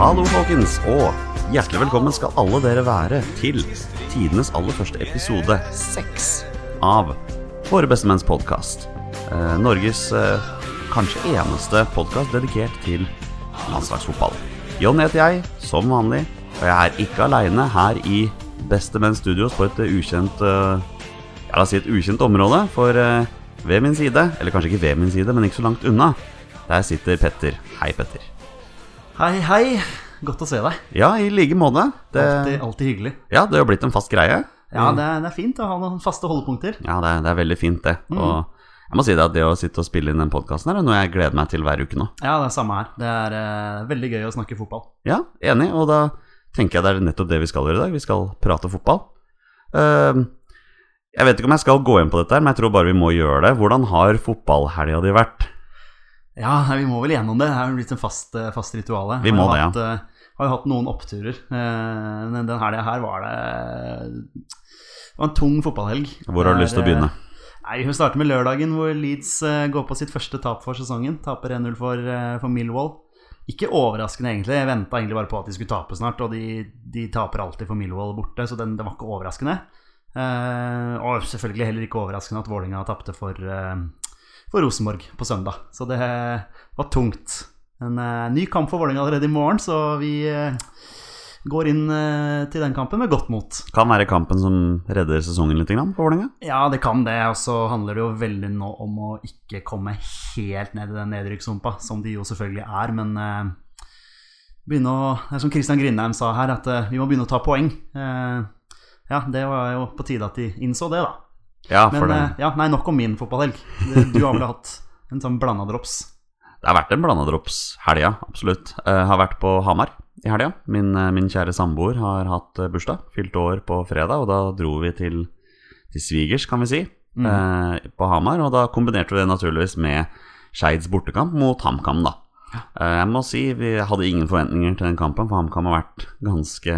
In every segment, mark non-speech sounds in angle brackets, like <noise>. Hallo, folkens, og hjertelig velkommen skal alle dere være til tidenes aller første episode seks av Våre beste menns podkast. Eh, Norges eh, kanskje eneste podkast dedikert til landslagsfotball. Jon heter jeg, som vanlig, og jeg er ikke aleine her i Beste Menns Studios på et eh, ukjent eh, jeg vil si et ukjent område, for eh, ved min side, eller kanskje ikke ved min side, men ikke så langt unna, der sitter Petter. Hei, Petter. Hei, hei. Godt å se deg. Ja, i like måte. Det, Mm. Alltid, alltid hyggelig. ja, det har blitt en fast greie. Ja, det er, det er fint å ha noen faste holdepunkter. Ja, det er, det er veldig fint, det. Og jeg må si det at det å sitte og spille inn den podkasten her er noe jeg gleder meg til hver uke nå. Ja, det er samme her. Det er eh, veldig gøy å snakke fotball. Ja, enig, og da tenker jeg det er nettopp det vi skal gjøre i dag. Vi skal prate fotball. Ehm, jeg vet ikke om jeg skal gå inn på dette, her, men jeg tror bare vi må gjøre det. Hvordan har fotballhelga di vært? Ja, nei, vi må vel gjennom det. Det er jo blitt en fast, eh, fast ritual. Vi må det, ja. har jo hatt noen oppturer. Eh, Men den helga her var det det var en tung fotballhelg. Hvor har du Det lyst til å er, eh, begynne? Nei, Vi starter med lørdagen, hvor Leeds eh, går på sitt første tap for sesongen. Taper 1-0 for, eh, for Millwall. Ikke overraskende, egentlig. Jeg venta egentlig bare på at de skulle tape snart, og de, de taper alltid for Millwall borte, så den, det var ikke overraskende. Eh, og selvfølgelig heller ikke overraskende at Vålinga tapte for, eh, for Rosenborg på søndag. Så det var tungt. En eh, ny kamp for Vålinga allerede i morgen, så vi eh, går inn eh, til den kampen med godt mot. Kan være kampen som redder sesongen litt grann, for Vålerenga. Ja, det kan det. Og så handler det jo veldig nå om å ikke komme helt ned i den nedrykkssumpa, som de jo selvfølgelig er. Men eh, begynne å Det er som Christian Grindheim sa her, at eh, vi må begynne å ta poeng. Eh, ja, det var jo på tide at de innså det, da. Ja, for Men det, eh, ja, nei, nok om min fotballhelg. Du har vel hatt en sånn blanda drops? det har vært en blanda drops-helga, absolutt. Eh, har vært på Hamar i helga. Min, eh, min kjære samboer har hatt eh, bursdag, fylte år på fredag, og da dro vi til, til svigers, kan vi si, eh, på Hamar. Og da kombinerte vi det naturligvis med Skeids bortekamp mot HamKam, da. Eh, jeg må si vi hadde ingen forventninger til den kampen, for HamKam har vært ganske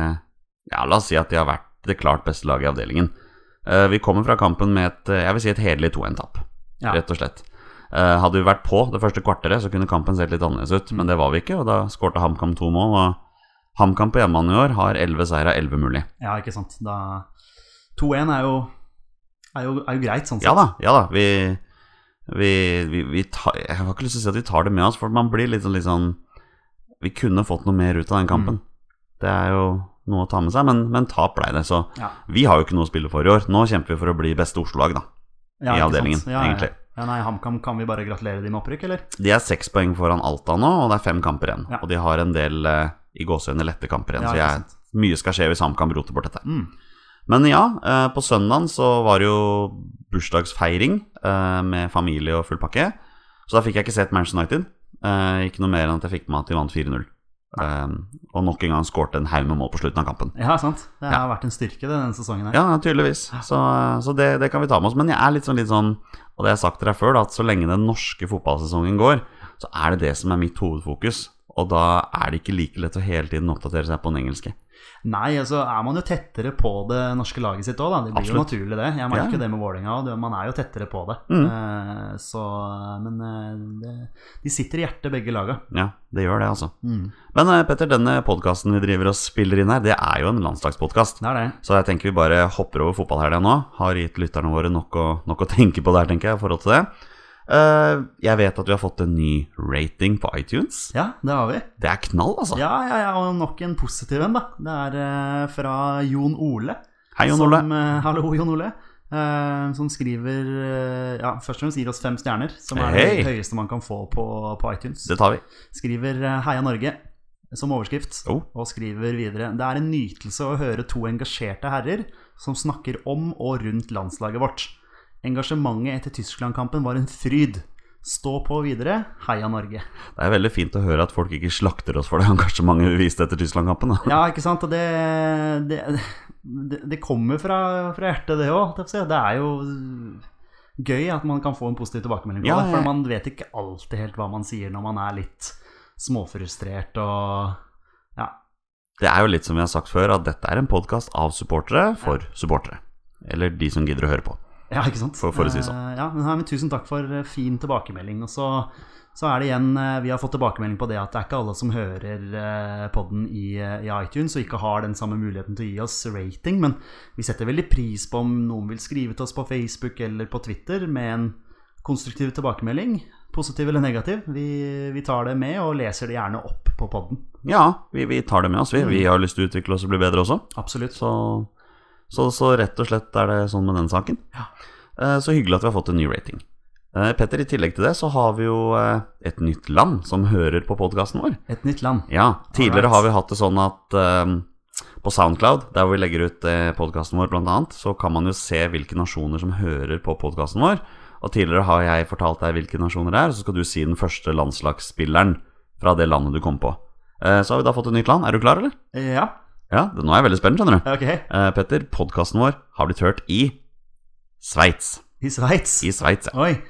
Ja, la oss si at de har vært det klart beste laget i avdelingen. Eh, vi kommer fra kampen med et, eh, jeg vil si et hederlig 2-1-tap, Ja. rett og slett. Eh, hadde vi vært på det første kvarteret, så kunne kampen sett litt annerledes ut, men det var vi ikke, og da skårte HamKam to mål. Og HamKam på hjemmebane i år har 11 seire av 11 mulig. Ja, ikke sant. Da 2-1 er jo, er, jo, er jo greit, sånn sett. Ja da, ja da. Vi, vi, vi, vi tar, Jeg har ikke lyst til å si at vi tar det med oss, for man blir litt sånn, litt sånn Vi kunne fått noe mer ut av den kampen. Det er jo noe å ta med seg, men, men tap blei det. Så Ja. vi har jo ikke noe å spille for i år. Nå kjemper vi for å bli beste Oslo-lag, da. i Ja, ikke sant? avdelingen, ja, ja. egentlig. Ja, nei, HamKam kan vi bare gratulere de med opprykk, eller? De er seks poeng foran Alta nå, og det er fem kamper igjen. Ja. Og de har en del eh, i gåseøyne lette kamper igjen, Ja, så ikke jeg, sant. mye skal skje hvis HamKam roter bort dette. Mm. Men ja, eh, på søndagen så var det jo bursdagsfeiring eh, med familie og full pakke. Så da fikk jeg ikke sett Manchester United. Eh, Ikke noe mer enn at jeg fikk med at de vant 4-0. Eh, Og nok en gang skårte en haug med mål på slutten av kampen. Ja, sant. Det Ja. har vært en styrke det, denne sesongen. her. Ja, tydeligvis. Så, eh, så det, det kan vi ta med oss. Men jeg er litt sånn, litt sånn og det har jeg sagt til deg før, da, at så lenge den norske fotballsesongen går, så er det det som er mitt hovedfokus. Og da er det ikke like lett å hele tiden oppdatere seg på den engelske. Nei, altså er man jo tettere på det norske laget sitt òg, da. Det blir Absolutt. jo naturlig, det. Jeg merker Ja. jo det med Vålerenga òg. Man er jo tettere på det. Mm. Eh, så Men eh, det, de sitter i hjertet, begge laga. Ja, det gjør det, altså. Mm. Men eh, Petter, denne podkasten vi driver og spiller inn her, det er jo en landslagspodkast. Det er det. Så jeg tenker vi bare hopper over fotballhelga nå. Har gitt lytterne våre nok å, nok å tenke på der, tenker jeg, i forhold til det. Eh, jeg vet at vi har fått en ny rating på iTunes. Ja, det har vi. Det er knall, altså. Ja, ja, ja, og nok en positiv en, da. Det er eh, fra Jon Ole. Hei, Jon som, Ole. eh, hallo, Jon Ole. eh, som skriver eh, Ja, først og fremst gir oss fem stjerner, som er Hei. det høyeste man kan få på, på iTunes. Det tar vi. Skriver eh, 'Heia Norge' som overskrift, Oh. og skriver videre 'Det er en nytelse å høre to engasjerte herrer som snakker om og rundt landslaget vårt'. Engasjementet etter Tyskland-kampen var en fryd. Stå på videre. Heia Norge. <laughs> Det er veldig fint å høre at folk ikke slakter oss for det <laughs> engasjementet vi viste etter Tyskland-kampen. da. Ja, ikke sant? Og det, det, det, det kommer fra, fra hjertet, det òg. Det er jo gøy at man kan få en positiv tilbakemelding på Ja, det. ja. For man vet ikke alltid helt hva man sier når man er litt småfrustrert og ja, Det er jo litt som vi har sagt før, at dette er en podkast av supportere for supportere. Eller de som gidder å høre på. Ja, ikke sant? For- for å si det sånn. Eh, Ja, men, nei, men Tusen takk for eh, fin tilbakemelding. Og så Så er det igjen, eh, Vi har fått tilbakemelding på det at det er ikke alle som hører poden i, eh, i iTunes og ikke har den samme muligheten til å gi oss rating, men vi setter veldig pris på om noen vil skrive til oss på Facebook eller på Twitter med en konstruktiv tilbakemelding. Positiv eller negativ. Vi, vi tar det med og leser det gjerne opp på poden. Ja, vi, vi tar det med oss, vi. Vi har lyst til å utvikle oss og bli bedre også. Absolutt. Så, så, så rett og slett er det sånn med den saken. Ja. Eh, Så hyggelig at vi har fått en ny rating. Eh, Petter, i tillegg til det så har vi jo eh, et nytt land som hører på podkasten vår. Et nytt land. Ja, tidligere Alright. har vi hatt det sånn at eh, på Soundcloud, der hvor vi legger ut eh, podkasten vår blant annet, så kan man jo se hvilke nasjoner som hører på podkasten vår. Og tidligere har jeg fortalt deg hvilke nasjoner det er, og så skal du si den første landslagsspilleren fra det landet du kom på. Eh, så har vi da fått et nytt land. Er du klar, eller? Ja, Ja, det- nå er jeg veldig spent, skjønner du. ok. Eh, Petter, podkasten vår har blitt hørt i Sveits. I Sveits. I Sveits, ja. Oi.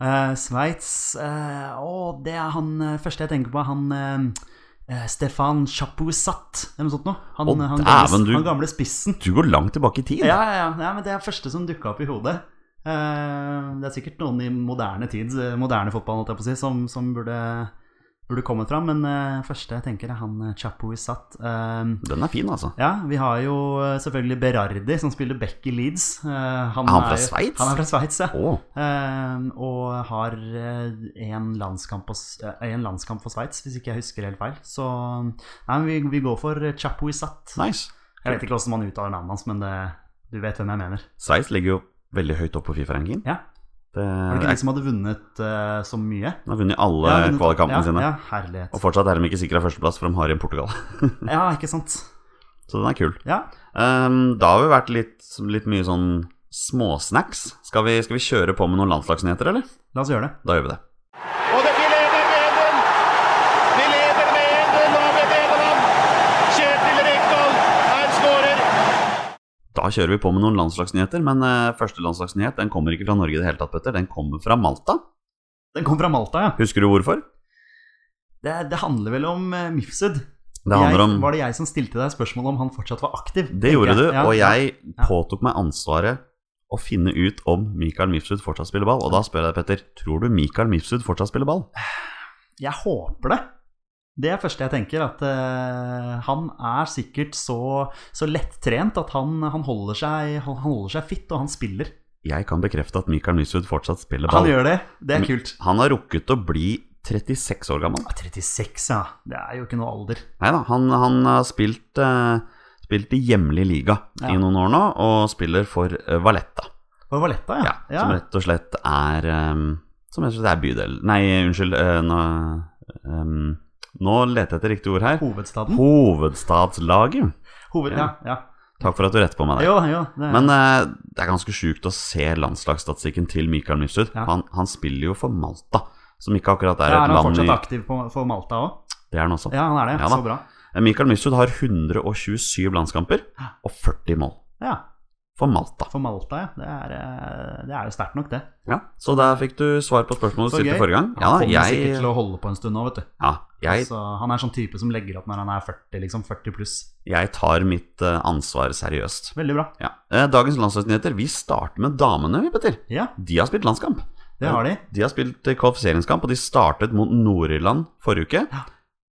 Eh, Sveits eh, Å, det er han eh, første jeg tenker på. Han eh, eh, Stefan Chapousat, eller noe sånt noe. Han, eh, Å, han, dæven, du- gamle, han gamle spissen. Du går langt tilbake i tid. Ja, ja, ja. ja men det er første som dukka opp i hodet. Eh, det er sikkert noen i moderne tid, eh, moderne fotball, holdt jeg på å si, som, som burde, burde kommet fram. Men eh, første jeg tenker, er han eh, Chapousat. Uh, Den er fin, altså. ja, vi har jo eh, selvfølgelig Berardi, som spiller back i Leeds. Eh, han, Er han fra jo- Sveits? Han er fra Sveits, ja. Å, Eh, og har én landskamp, på s- eh, en landskamp for Sveits, hvis ikke jeg husker helt feil. Så nei, men vi, vi går for eh, Chapuisat. nice. Jeg vet ikke hvordan man uttaler navnet hans, men det, du vet hvem jeg mener. Sveits ligger jo veldig høyt oppe på Fifa-ranken. Ja. Det, Var det det ikke de som hadde vunnet eh, så mye? De har vunnet alle vunnet- kvalikkampene ja, sine. Ja, herlighet. Og fortsatt er de ikke sikra førsteplass, for de har igjen Portugal. <laughs> Ja, ikke sant. Så den er kul. Ja, Ehm, da har vi vært litt, litt mye sånn småsnacks. Skal vi, skal vi kjøre på med noen landslagsnyheter, eller? la oss gjøre det. Da gjør vi det. Og det, vi leder med den! Vi leder med den av Nederland! Kjetil Rekdal, han skårer! Da kjører vi på med noen landslagsnyheter, men eh, første landslagsnyhet den kommer ikke fra Norge i det hele tatt, Petter. Den kommer fra Malta. Den kom fra Malta, ja. Husker du hvorfor? Det, det handler vel om uh, Mifsud. Det handler om jeg, var det jeg som stilte deg spørsmål om han fortsatt var aktiv? Det gjorde du, tenker Ja, og jeg ja. påtok meg ansvaret å finne ut om Mikael Mifsud fortsatt spiller ball. Og da spør jeg deg, Petter, tror du Mikael Mifsud fortsatt spiller ball? Jeg håper det. Det er det første jeg tenker, at eh, han er sikkert så, så lettrent at han, han, holder seg, han han holder seg fitt, og han spiller. Jeg kan bekrefte at Mikael Mifsud fortsatt spiller Han ball. gjør det. Det Mm. er kult. Han har rukket å bli 36 år gammel. Ja, 36, ja. Det er jo ikke noe alder. Nei da, han, han har spilt, eh, spilt i hjemlig liga i Ja. noen år nå, og spiller for eh, Valletta. Og Valletta, ja. Ja, Som rett og slett er eh, Som rett og slett er bydel Nei, unnskyld. eh, nå, eh, nå leter jeg etter riktig ord her. Hovedstaden. Hovedstadslaget. Hoved, ja, ja. Takk for at du retter på meg der. Jo, jo. Det, Men eh, det er ganske sjukt å se landslagsstatistikken til Mikael Mifsud. Ja. Han, han spiller jo for Malta, som ikke akkurat er ja, et er han land fortsatt i aktiv på, for Malta òg? Det er han også. Ja, han er det. Ja, da. så bra. Eh, Mikael Mifsud har 127 landskamper og 40 mål Ja, for Malta. For Malta, ja. Det er, eh, det er jo sterkt nok, det. Ja, så der fikk du svar på spørsmålet du Så stilte gøy. forrige gang. Ja, han kommer sikkert jeg, til å holde på en stund nå, vet du. ja, jeg, Altså, han er sånn type som legger opp når han er 40, liksom. 40 pluss. jeg tar mitt eh, ansvar seriøst. Veldig bra. Ja. Eh, Dagens landslagsnyheter, vi starter med damene, vi, Petter. Ja, De har spilt landskamp. det har de. De har spilt eh, kvalifiseringskamp, og de startet mot Nord-Irland forrige uke.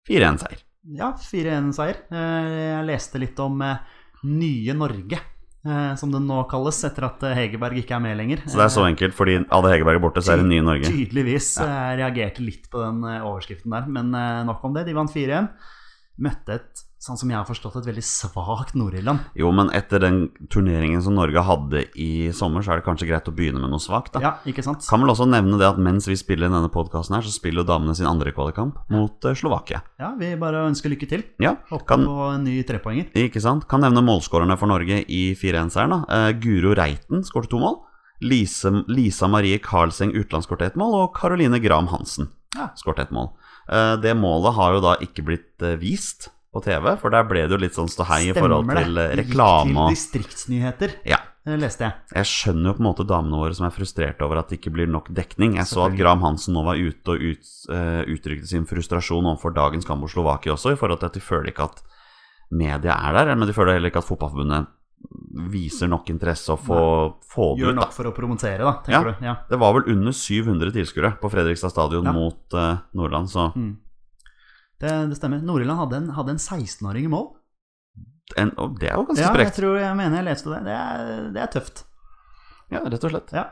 4-1-seier. Ja, 4-1-seier. Eh, Jeg leste litt om eh, nye Norge, eh, som den nå kalles, etter at eh, Hegerberg ikke er med lenger. Eh, Så det er så enkelt, fordi hadde Hegerberg er borte, så er det nye Norge. Tydeligvis. Jeg reagerte litt på den eh, overskriften der, men eh, nok om det. De vant 4-1. Møtte et, sånn som jeg har forstått, et veldig svakt Nord-Irland. Jo, men etter den turneringen som Norge hadde i sommer, så er det kanskje greit å begynne med noe svakt, da. Ja, ikke sant? Kan vel også nevne det at mens vi spiller denne podkasten her, så spiller jo damene sin andre kvalikamp mot eh, Slovakia. Ja, Vi bare ønsker lykke til. Ja, Håper kan, på en ny trepoenger. ikke sant? Kan nevne målskårerne for Norge i 4-1-seieren, da. Eh, Guro Reiten skårte to mål. Lise, Lisa Marie Karlseng Utland skårte ett mål, og Caroline Graham Hansen Ja. skårte ett mål. Eh, det målet har jo da ikke blitt eh, vist på TV, for der ble det jo litt sånn ståhei i forhold til eh, Gikk reklame Til og distriktsnyheter, Ja. eh, leste jeg. Jeg skjønner jo på en måte damene våre som er frustrerte over at det ikke blir nok dekning. Jeg så at Selvfølgelig. Graham Hansen nå var ute og ut, eh, uttrykte sin frustrasjon overfor dagens kamp mot Slovakia også, i forhold til at de føler ikke at media er der, men de føler heller ikke at fotballforbundet viser nok interesse og få, få det Gjør ut. nok Da. for å promotere, da, Ja. tenker du. Ja. Det var vel under 700 tilskuere på Fredrikstad stadion Ja. mot eh, Nordland, så Det, det stemmer. Nord-Irland hadde en, hadde en 16-åring i mål. en, og det er jo ganske Ja, jeg sprekt. tror jeg mener jeg leste det. Det er, det er tøft. Ja, rett og slett. Ja.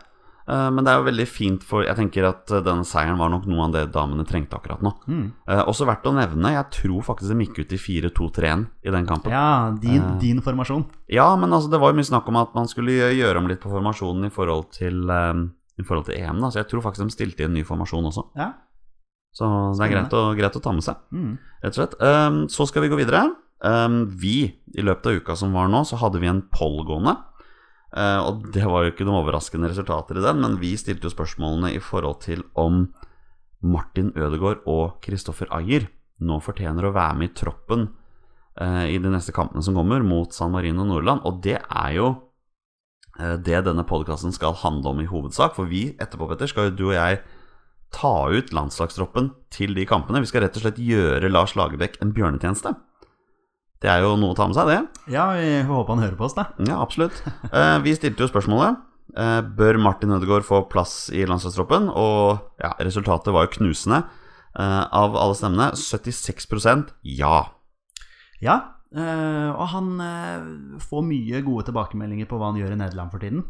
Eh, Men det er jo veldig fint, for jeg tenker at eh, denne seieren var nok noe av det damene trengte akkurat nå. Mm. Eh, også verdt å nevne, jeg tror faktisk de gikk ut i 4-2-3-1 i den kampen. Ja. Ja, din, Eh. din formasjon. men altså, det var jo mye snakk om at man skulle gjøre om litt på formasjonen i forhold til, eh, i forhold til EM, da. så jeg tror faktisk de stilte i en ny formasjon også. Ja. Så det er Spennende. greit å, greit å ta med seg. Mm. rett og slett. Ehm, så skal vi gå videre. Ehm, vi, i løpet av uka som var nå, så hadde vi en poll gående. Eh, og det var jo ikke noen overraskende resultater i den, men vi stilte jo spørsmålene i forhold til om Martin Ødegaard og Kristoffer Ayer nå fortjener å være med i troppen eh, i de neste kampene som kommer, mot San Marino og Nordland. Og det er jo eh, det denne podkasten skal handle om i hovedsak, for vi etterpå, Petter, skal jo du og jeg ta ut landslagstroppen til de kampene. Vi skal rett og slett gjøre Lars Lagerbäck en bjørnetjeneste. Det er jo noe å ta med seg, det. Ja, vi får håpe han hører på oss, da. Ja, absolutt. <laughs> Eh, vi stilte jo spørsmålet. Eh, bør Martin Ødegaard få plass i landslagstroppen? Og ja, resultatet var jo knusende. Eh, av alle stemmene 76 ja. Ja. eh, og han eh, får mye gode tilbakemeldinger på hva han gjør i Nederland for tiden.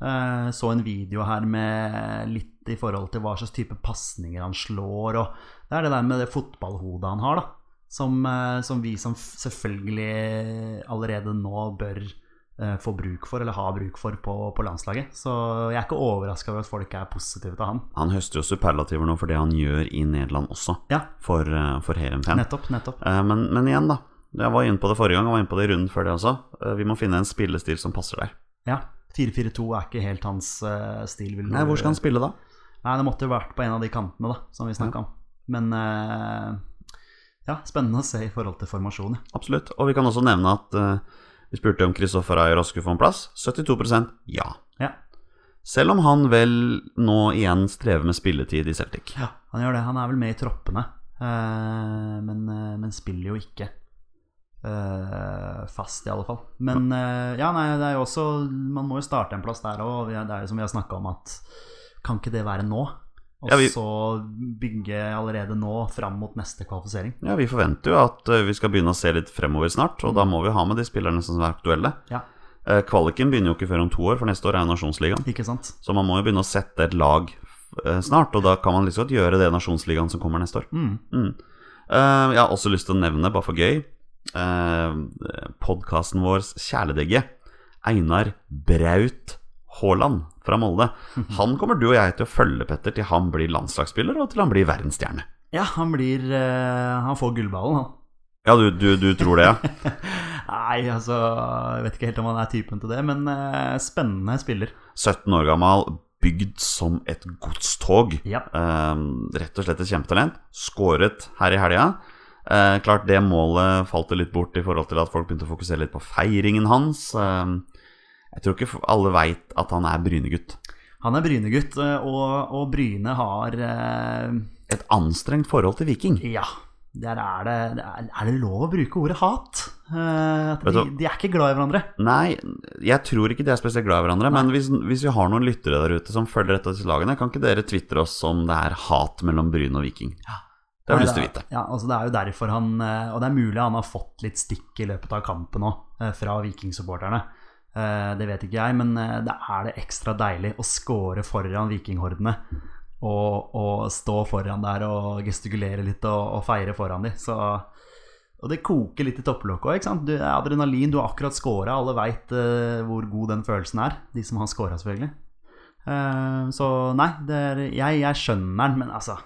Eh, så en video her med litt i forhold til hva slags type pasninger han slår, og det er det der med det fotballhodet han har, da. Som, eh, som vi som f- selvfølgelig allerede nå bør eh, få bruk for, eller ha bruk for, på, på landslaget. Så jeg er ikke overraska over at folk er positive til han. Han høster jo superlativer nå for det han gjør i Nederland også, Ja, for, eh, for Heerenveen. nettopp, nettopp. Eh, Men, men igjen, da. Jeg var inne på det forrige gang, og var inne på det i runden før det også. Eh, Vi må finne en spillestil som passer der. Ja. 4-4-2 er ikke helt hans eh, stil. Vil Nei, hvor skal han spille, da? Nei, det måtte jo vært på en av de kantene da, som vi snakka om. Men eh, ja, spennende å se i forhold til formasjon. ja. Absolutt. Og vi kan også nevne at eh, vi spurte om Kristoffer Ayer også skulle få en plass. 72 ja. Ja. Selv om han vel nå igjen strever med spilletid i Celtic. ja, han gjør det. Han er vel med i troppene, eh, men, eh, men spiller jo ikke eh, fast, i alle fall. Men eh, ja, nei, det er jo også Man må jo starte en plass der òg. Det er jo som vi har snakka om, at kan ikke det være nå? Og Ja, vi- så bygge allerede nå fram mot neste kvalifisering. Ja, vi forventer jo at eh, vi skal begynne å se litt fremover snart, og da må vi ha med de spillerne som er aktuelle. Ja, Eh, Kvaliken begynner jo ikke før om to år, for neste år er jo Nasjonsligaen. ikke sant? Så man må jo begynne å sette et lag eh, snart, og da kan man liksom godt gjøre det i Nasjonsligaen som kommer neste år. Mm. Mm. Eh, jeg har også lyst til å nevne, bare for gøy, uh, podkasten vår Kjæledegge. Einar Braut Haaland fra Molde. Han kommer du og jeg til å følge, Petter, til han blir landslagsspiller, og til han blir verdensstjerne. Ja, han blir eh, Han får gullballen, han. Ja, du, du, du tror det, ja? Nei, altså Jeg vet ikke helt om han er typen til det, men eh, spennende spiller. 17 år gammel, bygd som et godstog. Ja. Ehm, rett og slett et kjempetalent. Skåret her i helga. Eh, klart det målet falt jo litt bort i forhold til at folk begynte å fokusere litt på feiringen hans. Ehm, jeg tror ikke f- alle veit at han er Bryne-gutt. Han er Bryne-gutt, eh, og, og Bryne har eh, Et anstrengt forhold til Viking. Ja, der er det, det er, er det lov å bruke ordet hat? Eh, at Vet de, du hva? de er ikke glad i hverandre. Nei, jeg tror ikke de er spesielt glad i hverandre, men hvis, hvis vi har noen lyttere der ute som følger dette til lagene, kan ikke dere tvitre oss om det er hat mellom Bryne og Viking? Det har vi Nei, lyst til å det vite. er- Ja, altså Det er jo derfor han eh, Og det er mulig han har fått litt stikk i løpet av kampen òg, fra vikingsupporterne. Eh, Det vet ikke jeg, men eh, det er det ekstra deilig å score foran vikinghordene. Og, og stå foran der og gestikulere litt og, og feire foran de. Så, og det koker litt i topplokket òg, ikke sant. Du, adrenalin, du har akkurat scora, alle veit hvor god den følelsen er. De som har scora, selvfølgelig. Eh, Så nei, det er, jeg, jeg skjønner den, men altså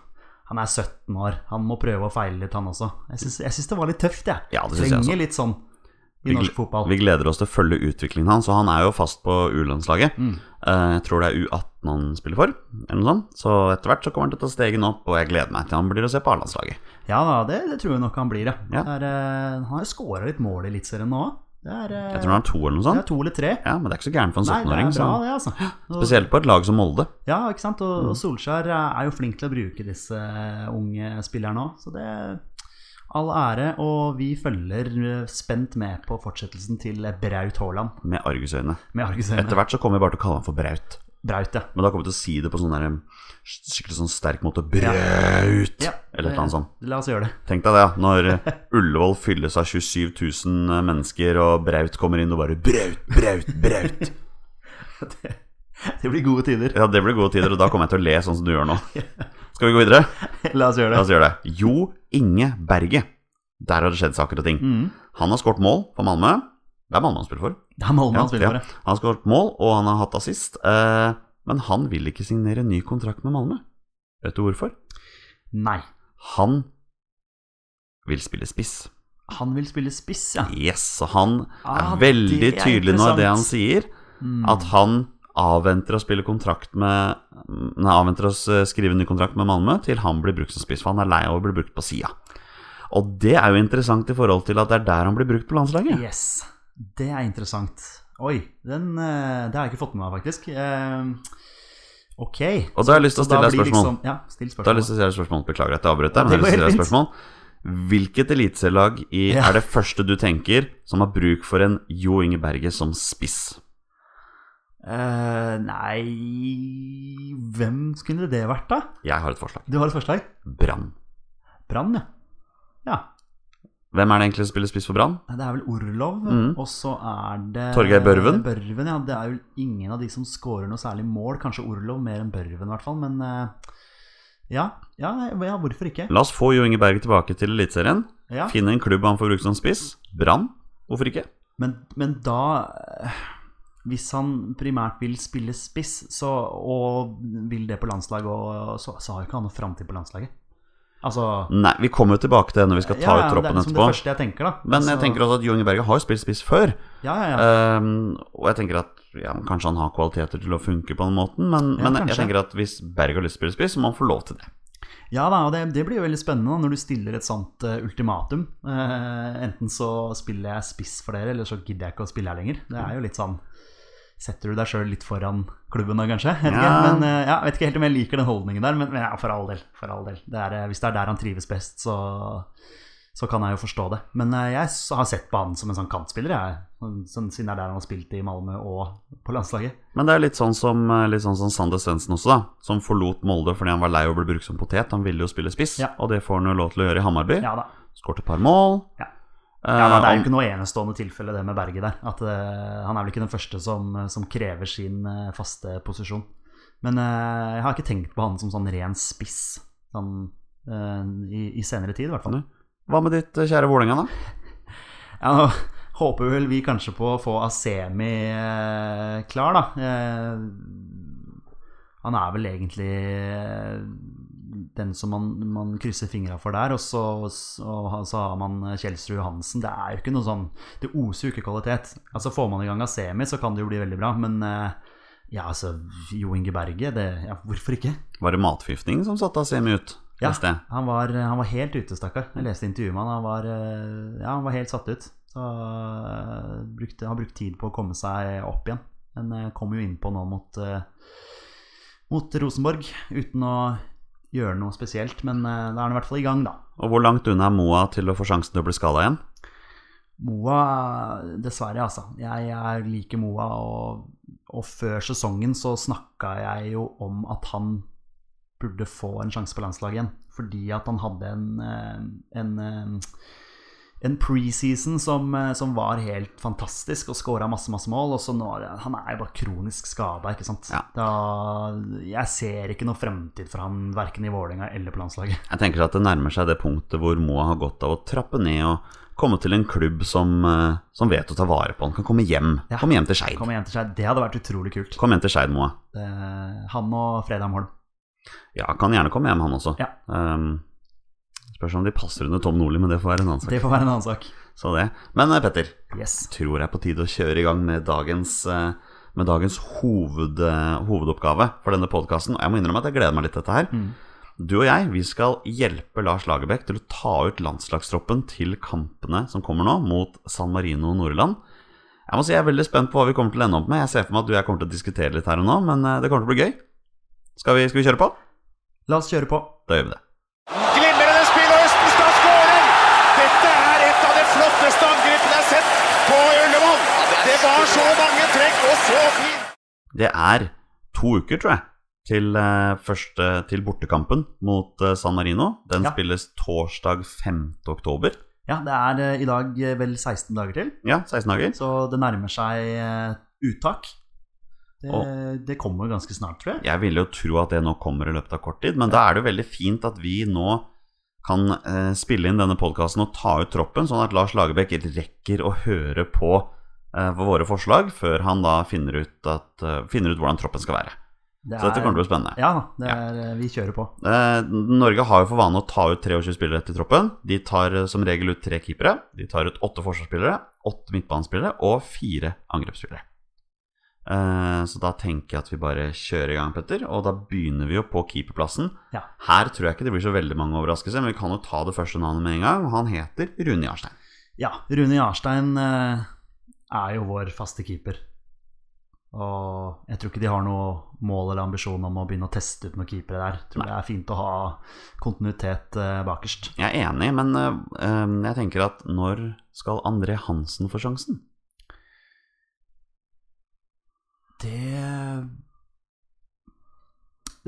Han er 17 år, han må prøve å feile litt, han også. Jeg syns, jeg syns det var litt tøft, jeg. Ja, det syns jeg Trenger også. litt sånn Vi i norsk gle- fotball. Vi gleder oss til å følge utviklingen hans, og han er jo fast på U-landslaget. Mm. Eh, Jeg tror det er U18 han spiller for, eller noe sånt. Så etter hvert så kommer han til å ta stegen opp, og jeg gleder meg til han blir å se på A-landslaget. Ja da, det, det tror jeg nok han blir, ja. Ja. Det er, eh, han har jo scora litt mål i Eliteserien nå òg. Det er eh, Jeg tror han er to eller noe det er sånt. to eller tre. Ja, men det er ikke så gærent for en Nei, det 17-åring. er bra, så- det, altså. Og- Spesielt Mm. på et lag som Molde. Ja, ikke sant? eh, Og, og Solskjær er jo flink til å bruke disse unge spillerne òg, så det All ære, og vi følger eh, spent med på fortsettelsen til eh, Braut Haaland. med argusøyne. Med Etter argusøyne. hvert så kommer vi bare til å kalle han for Braut. Braut, ja. Men da kommer vi til å si det på sånn der um, skikkelig sånn sterk måte. Braut! ja. Eller et eller annet sånt. La oss gjøre det. <laughs> Tenk deg det, ja. Når uh, Ullevål fylles av 27 000 eh, mennesker, og Braut kommer inn og bare Braut, Braut, <laughs> Braut. Det blir gode tider. Ja, det blir gode tider, og da kommer jeg til å le sånn som du gjør nå. Skal vi gå videre? <laughs> La oss gjøre La det. oss gjøre det. Jo Inge Berge. Der har det skjedd saker og ting. Mm. Han har skåret mål for Malmö. Det er Malmö han spiller for. Det er Malmö han Ja, spiller for. ja. ja. Han har skåret mål, og han har hatt assist. Eh, men han vil ikke signere ny kontrakt med Malmö. Vet du hvorfor? Nei. Han vil spille spiss. Han vil spille spiss, ja. Yes, så han Ah, er veldig det er tydelig nå i det han sier, Mm. at han avventer å spille kontrakt med Nei, avventer å s- skrive ny kontrakt med Malmö til han blir brukt som spiss, for han er lei av å bli brukt på sida. Og det er jo interessant i forhold til at det er der han blir brukt på landslaget. Yes. Det er interessant. Oi, den eh, Det har jeg ikke fått med meg, faktisk. Eh, ok. Og da har jeg lyst til å Så da stille deg et blir spørsmål. liksom- Ja, Da har jeg still spørsmål. lyst til å stille deg et spørsmål. Beklager at jeg avbrøt deg, men jeg Ja, det har lyst til å stille går deg helt et spørsmål. Hvilket eliteserielag i Ja. er det første du tenker som har bruk for en Jo Inge Berge som spiss? Eh, nei Hvem skulle det vært, da? Jeg har et forslag. Du har et forslag? Brann. Brann, ja. Ja. Hvem er det egentlig som spiller spiss for Brann? Nei, Det er vel Orlov, Mm. og så er det Torgeir Børven. Børven, ja. Det er vel ingen av de som scorer noe særlig mål. Kanskje Orlov mer enn Børven, i hvert fall. Men eh, ja, ja, ja, hvorfor ikke? La oss få Jo Inge Berge tilbake til Eliteserien. Ja. Finne en klubb han får bruke som spiss. Brann. Hvorfor ikke? Men, men da eh, Hvis han primært vil spille spiss, så, og vil det på landslaget, og, så, så har jo ikke han noe framtid på landslaget. Altså Nei, vi kommer jo tilbake til Mm, det når vi skal ta ja, ja, ut troppen Det er liksom det etterpå. første jeg tenker, da. Men jeg Så- tenker også at Jo Inge Berge har jo spilt spiss før. Ja, ja, ja. Ehm, og jeg tenker at ja, men kanskje han har kvaliteter til å funke på den måten, men, Ja, men jeg kanskje. tenker at hvis Berg har lyst til å spille spiss, så må han få lov til det. Ja da, og det, det blir jo veldig spennende da, når du stiller et sånt eh, ultimatum. Eh, enten så spiller jeg spiss for dere, eller så gidder jeg ikke å spille her lenger. Det er jo litt sånn Setter du deg sjøl litt foran klubben da, kanskje? Jeg vet, Ja. ikke, men, eh, ja, jeg vet ikke helt om jeg liker den holdningen der, men, men ja, for all del. For all del. Det er, eh, hvis det er der han trives best, så, så kan jeg jo forstå det. Men eh, jeg s- har sett på han som en sånn kantspiller, jeg. Sånn- sånn- Siden det er der han har spilt i Malmö og på landslaget. Men det er litt sånn som, litt sånn som Sander Svendsen også, da. Som forlot Molde fordi han var lei av å bli brukt som potet. Han ville jo spille spiss, Ja. og det får han jo lov til å gjøre i Hammarby. Ja da. Skåret et par mål. Ja. Eh, Ja, da, Det er om- jo ikke noe enestående tilfelle det med Berge der. At eh, Han er vel ikke den første som, som krever sin eh, faste posisjon. Men eh, jeg har ikke tenkt på han som sånn ren spiss sånn, eh, i, i senere tid, i hvert fall. Nei. Hva med ditt eh, kjære Vålerenga, da? Ja, nå håper vel vi kanskje på å få Asemi eh, klar, da. Eh, han er vel egentlig eh, den som man, man krysser fingra for der. Og så, og så har man eh, Kjelsrud Johansen. Det er jo ikke noe sånn Det oser jo ikke kvalitet. Altså Får man i gang Asemi, så kan det jo bli veldig bra. Men eh, ja, altså Jo Inge Berge, det, ja, hvorfor ikke? Var det matforgiftning som satte Asemi ut? Ja. leste jeg? Han var, eh, han var helt ute, stakkar. Jeg leste intervjuet med han. Han var, eh, ja, han var helt satt ut. Så eh, brukte, har brukt tid på å komme seg opp igjen. Men eh, kom jo innpå nå mot, eh, mot Rosenborg uten å gjøre noe spesielt. Men eh, da er han i hvert fall i gang, da. Og hvor langt unna er Moa til å få sjansen til å bli skada igjen? Moa, dessverre, altså. Jeg, jeg liker Moa, og, og før sesongen så snakka jeg jo om at han burde få en sjanse på landslaget igjen. Fordi at han hadde en, eh, en, eh, en preseason som, eh, som var helt fantastisk, og skåra masse, masse mål. Og så nå er det- han er jo bare kronisk skada, ikke sant. Ja. Da, jeg ser ikke noe fremtid for han verken i Vålerenga eller på landslaget. Jeg tenker at det nærmer seg det punktet hvor Moa har godt av å trappe ned og komme til en klubb som, eh, som vet å ta vare på han. Kan komme hjem. Ja. Kom hjem til Skeid. Kom igjen til seg, Det hadde vært utrolig kult. Kom hjem til Skeid, Moa. Eh, Han og Fredheim Holm. Ja, kan gjerne komme hjem, han også. Ja. Ehm, spørs om de passer under Tom Nordli, men det får være en annen sak. Det får være en annen sak. Så det. Men eh, Petter, Yes. tror jeg på tide å kjøre i gang med dagens, eh, med dagens hoved, eh, hovedoppgave for denne podkasten. Og jeg må innrømme at jeg gleder meg litt til dette her. Mm. Du og jeg vi skal hjelpe Lars Lagerbäck til å ta ut landslagstroppen til kampene som kommer nå, mot San Marino og Nordland. Jeg må si jeg er veldig spent på hva vi kommer til å ende opp med. Jeg ser for meg at du og jeg kommer til å diskutere litt her og nå, men eh, det kommer til å bli gøy. Skal vi, skal vi kjøre på? La oss kjøre på. Da gjør vi det. Glimrende spill, og Østenstad skårer! var så mange trekk og så fint! Det er to uker, tror jeg, til, eh, første, til bortekampen mot eh, San Marino. Den Ja. spilles torsdag 5. oktober. Ja, det er eh, i dag eh, vel 16 dager til, Ja, 16 dager. så det nærmer seg eh, uttak. Det, det kommer ganske snart, tror jeg. Jeg ville jo tro at det nå kommer i løpet av kort tid, men da er det jo veldig fint at vi nå kan eh, spille inn denne podkasten og ta ut troppen, sånn at Lars Lagerbäck rekker å høre på eh, våre forslag før han da finner ut, at, eh, finner ut hvordan troppen skal være. Det Så dette er- kommer til å bli spennende. Ja, det er, vi kjører på. Eh, Norge har jo for vane å ta ut 23 spillere til troppen. De tar eh, som regel ut tre keepere. De tar ut åtte forsvarsspillere, åtte midtbanespillere og fire angrepsspillere. Eh, Så da tenker jeg at vi bare kjører i gang, Petter. Og da begynner vi jo på keeperplassen. Ja. Her tror jeg ikke det blir så veldig mange overraskelser, men vi kan jo ta det første navnet med en gang. Han heter Rune Jarstein. Ja, Rune Jarstein eh, er jo vår faste keeper. Og jeg tror ikke de har noe mål eller ambisjon om å begynne å teste ut noen keepere der. Jeg tror det er fint å ha kontinuitet eh, bakerst. Jeg er enig, men eh, eh, jeg tenker at når skal André Hansen få sjansen? Det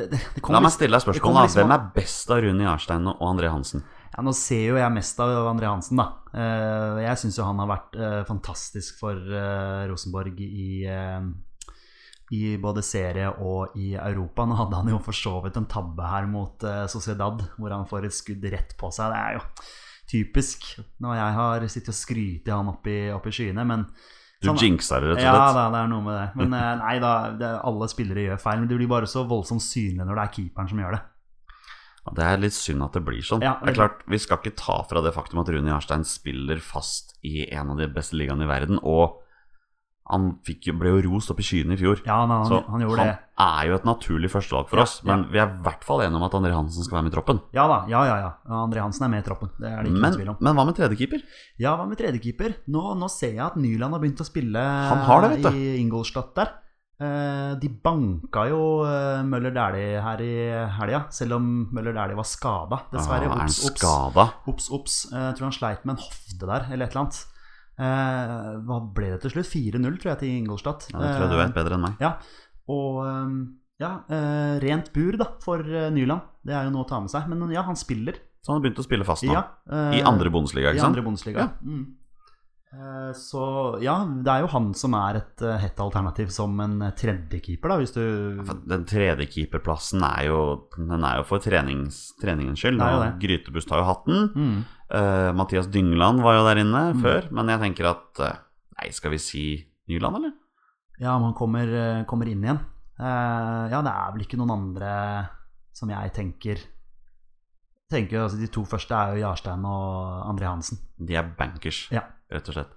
det, det, det La kommer meg liksom- stille deg det kommer spørsmålet. da. liksom Hvem an- er best av Rune Jarstein og André Hansen? ja, Nå ser jo jeg mest av André Hansen, da. Eh, jeg syns jo han har vært eh, fantastisk for eh, Rosenborg i eh, i både serie og i Europa. Nå hadde han jo for så vidt en tabbe her mot eh, Sociedad, hvor han får et skudd rett på seg. Det er jo typisk når jeg har sittet og skrytt i han opp i, opp i skyene, men Du Sånn- jinxer det, rett og ja, slett. da, det er noe med det. Men eh, nei da, det, alle spillere gjør feil. Men det blir bare så voldsomt synlig når det er keeperen som gjør det. Ja, Det er litt synd at det blir sånn. Ja, det er veldig. klart, Vi skal ikke ta fra det faktum at Rune Jarstein spiller fast i en av de beste ligaene i verden, og han fikk, jo- ble jo rost opp i skyene i fjor. Ja, nei, han, så han gjorde det. er jo et naturlig førstevalg for Ja, oss. Men vi er i hvert fall enige om at André Hansen skal være med i troppen. Ja da, ja ja ja. André Hansen er med i troppen. Det er det ikke Men, noen tvil om. men hva med tredjekeeper? Ja, hva med tredjekeeper? Nå, nå ser jeg at Nyland har begynt å spille eh, har det, vet du. i Ingolstadt der. Eh, De banka jo eh, Møller Dæhlie her i helga, selv om Møller Dæhlie var skada, Ah, er dessverre. han Ops, ops. skada? Ops, ops. Eh, Jeg tror han sleit med en hofte der, eller et eller annet. Eh, hva ble det til slutt? 4-0, tror jeg, til Ingolstadt. Ja, Eh, det tror jeg du vet bedre enn meg. Og eh, ja, eh, rent bur da, for eh, Nyland. Det er jo noe å ta med seg. Men ja, han spiller. Så han har begynt å spille fast nå. Ja, eh, I andre Bundesliga, i ikke sant? andre Bundesliga. Mm. Eh, Så ja, det er jo han som er et eh, hett alternativ som en eh, tredjekeeper, da, hvis du For Den tredjekeeperplassen er jo, den er jo for trenings, treningens skyld. Det er jo og Grytebust har jo hatt den. mm. Eh, Mathias Dyngland var jo der inne Mm. før, men jeg tenker at eh, Nei, skal vi si Nyland, eller? Ja, om han kommer, eh, kommer inn igjen. Eh, ja, det er vel ikke noen andre som jeg tenker Tenker jo, altså De to første er jo Jarstein og André Hansen. De er bankers, Ja. rett og slett.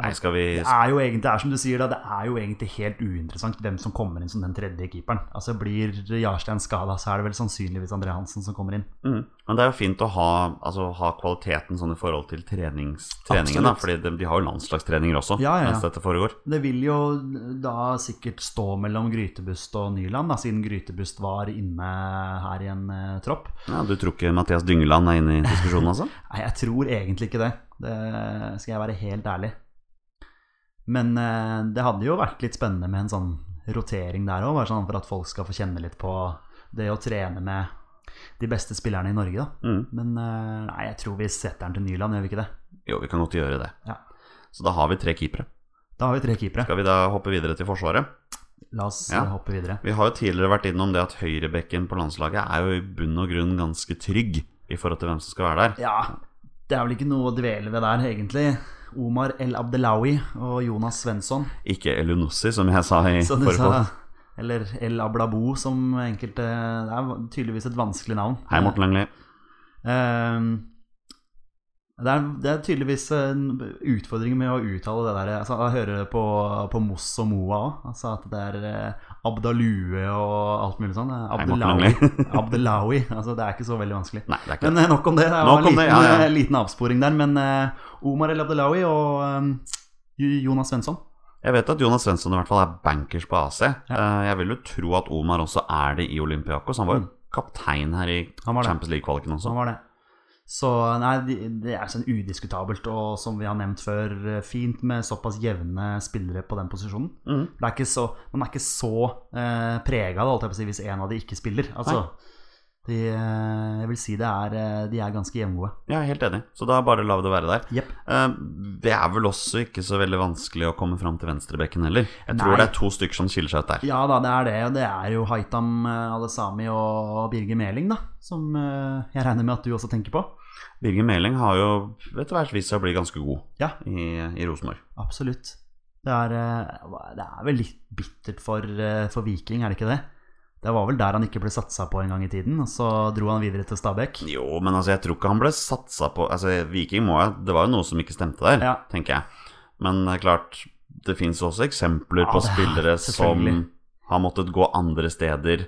Nei, skal vi Det er jo egentlig, det er som du sier da, det er jo egentlig helt uinteressant hvem som kommer inn som den tredje keeperen. Altså Blir Jarstein skada, så er det vel sannsynligvis André Hansen som kommer inn. mm. Men det er jo fint å ha, altså, ha kvaliteten sånn i forhold til trenings, treningen, da. Absolutt. Fordi de, de har jo landslagstreninger også Ja, ja, ja. mens dette foregår. Det vil jo da sikkert stå mellom Grytebust og Nyland, da, siden Grytebust var inne her i en eh, tropp. Ja, du tror ikke Mathias Dyngeland er inne i diskusjonen, <laughs> altså? Nei, jeg tror egentlig ikke det. Det skal jeg være helt ærlig. Men eh, det hadde jo vært litt spennende med en sånn rotering der òg, bare sånn for at folk skal få kjenne litt på det å trene med de beste spillerne i Norge, da. Mm. Men eh, nei, jeg tror vi setter den til Nyland, gjør vi ikke det? Jo, vi kan godt gjøre det. Ja. Så da har vi tre keepere. Da har vi tre keepere. Skal vi da hoppe videre til Forsvaret? La oss Ja. eh, hoppe videre. Vi har jo tidligere vært innom det at høyrebekken på landslaget er jo i bunn og grunn ganske trygg i forhold til hvem som skal være der. Ja, det er vel ikke noe å dvele ved der, egentlig. Omar El Abdelawi og Jonas Svensson. Ikke Elunussi, som jeg sa i <laughs> som du forrige sa. podd. Eller El Ablabo, som enkelte Det er tydeligvis et vanskelig navn. Hei, Morten Langli. Ehm, det, er, det er tydeligvis en utfordring med å uttale det der. Altså, jeg hører det på, på Moss og Moa òg. Altså at det er eh, Abdalue og alt mulig sånn. Hei, Abdelawi. Abdelawi. Altså, det er ikke så veldig vanskelig. Nei, det er ikke Men det. eh, nok om det. Det Nok var en om liten, det, ja, ja. eh, liten avsporing der. Men eh, Omar El Abdelawi og eh, Jonas Svensson. Jeg vet at Jonas Svensson i hvert fall er bankers på AC. Eh, Jeg vil jo tro at Omar også er det i Olympiakos. Han var jo Mm. kaptein her i Han var det. Champions League-kvaliken Så også. han var det. Så nei, de- det er sånn udiskutabelt. Og som vi har nevnt før, eh, fint med såpass jevne spillere på den posisjonen. Mm. Det er ikke så, man er ikke så eh, prega av det, holdt jeg på å si, hvis en av de ikke spiller. Altså, de, eh, jeg vil si det er, eh, de er ganske jevngode. Ja, helt enig. Så da bare la det være der. Jepp. Eh, Det er vel også ikke så veldig vanskelig å komme fram til venstrebekken heller. Jeg tror Nei. det er to stykker som skiller seg ut der. Ja da, det er det. Og det er jo Haitam eh, Alesami og Birger Meling, da. Som eh, jeg regner med at du også tenker på. Birger Meling har jo etter hvert vist seg å bli ganske god Ja. i, i Rosenborg. Absolutt. Det er, eh, hva- det er vel litt bittert for, eh, for Viking, er det ikke det? Det var vel der han ikke ble satsa på en gang i tiden, og så dro han videre til Stabæk. Jo, men altså, jeg tror ikke han ble satsa på Altså, Viking må jeg Det var jo noe som ikke stemte der, Ja. tenker jeg. Men det er klart, det fins også eksempler Ja, på det er- spillere som selvfølgelig. har måttet gå andre steder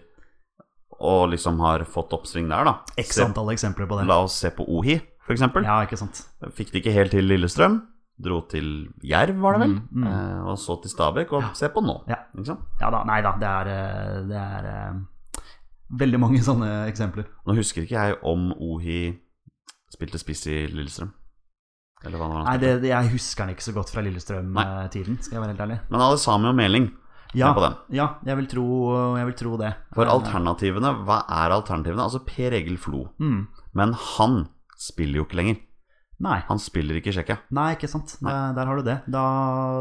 og liksom har fått oppsving der, da. X Se- antall eksempler på det. La oss se på Ohi, for eksempel. Ja, ikke sant. Fikk det ikke helt til Lillestrøm. Dro til Jerv, var det vel. Mm, mm. Eh, og så til Stabæk, og se på nå. Ja. Ikke sant? Ja da, nei da, det er, eh, det er eh, veldig mange sånne eksempler. Nå husker ikke jeg om Ohi spilte spiss i Lillestrøm. Eller hva det var han Nei, spilte. det, det, jeg husker den ikke så godt fra Lillestrøm-tiden, skal jeg være helt ærlig. Men alle sammen og Meling. Ja, på den. ja jeg, vil tro, jeg vil tro det. For Eh, alternativene, hva er alternativene? Altså Per Egil Flo. Mm. Men han spiller jo ikke lenger. Nei, Han spiller ikke i Tsjekkia. nei, ikke sant. Der, der har du det. Da,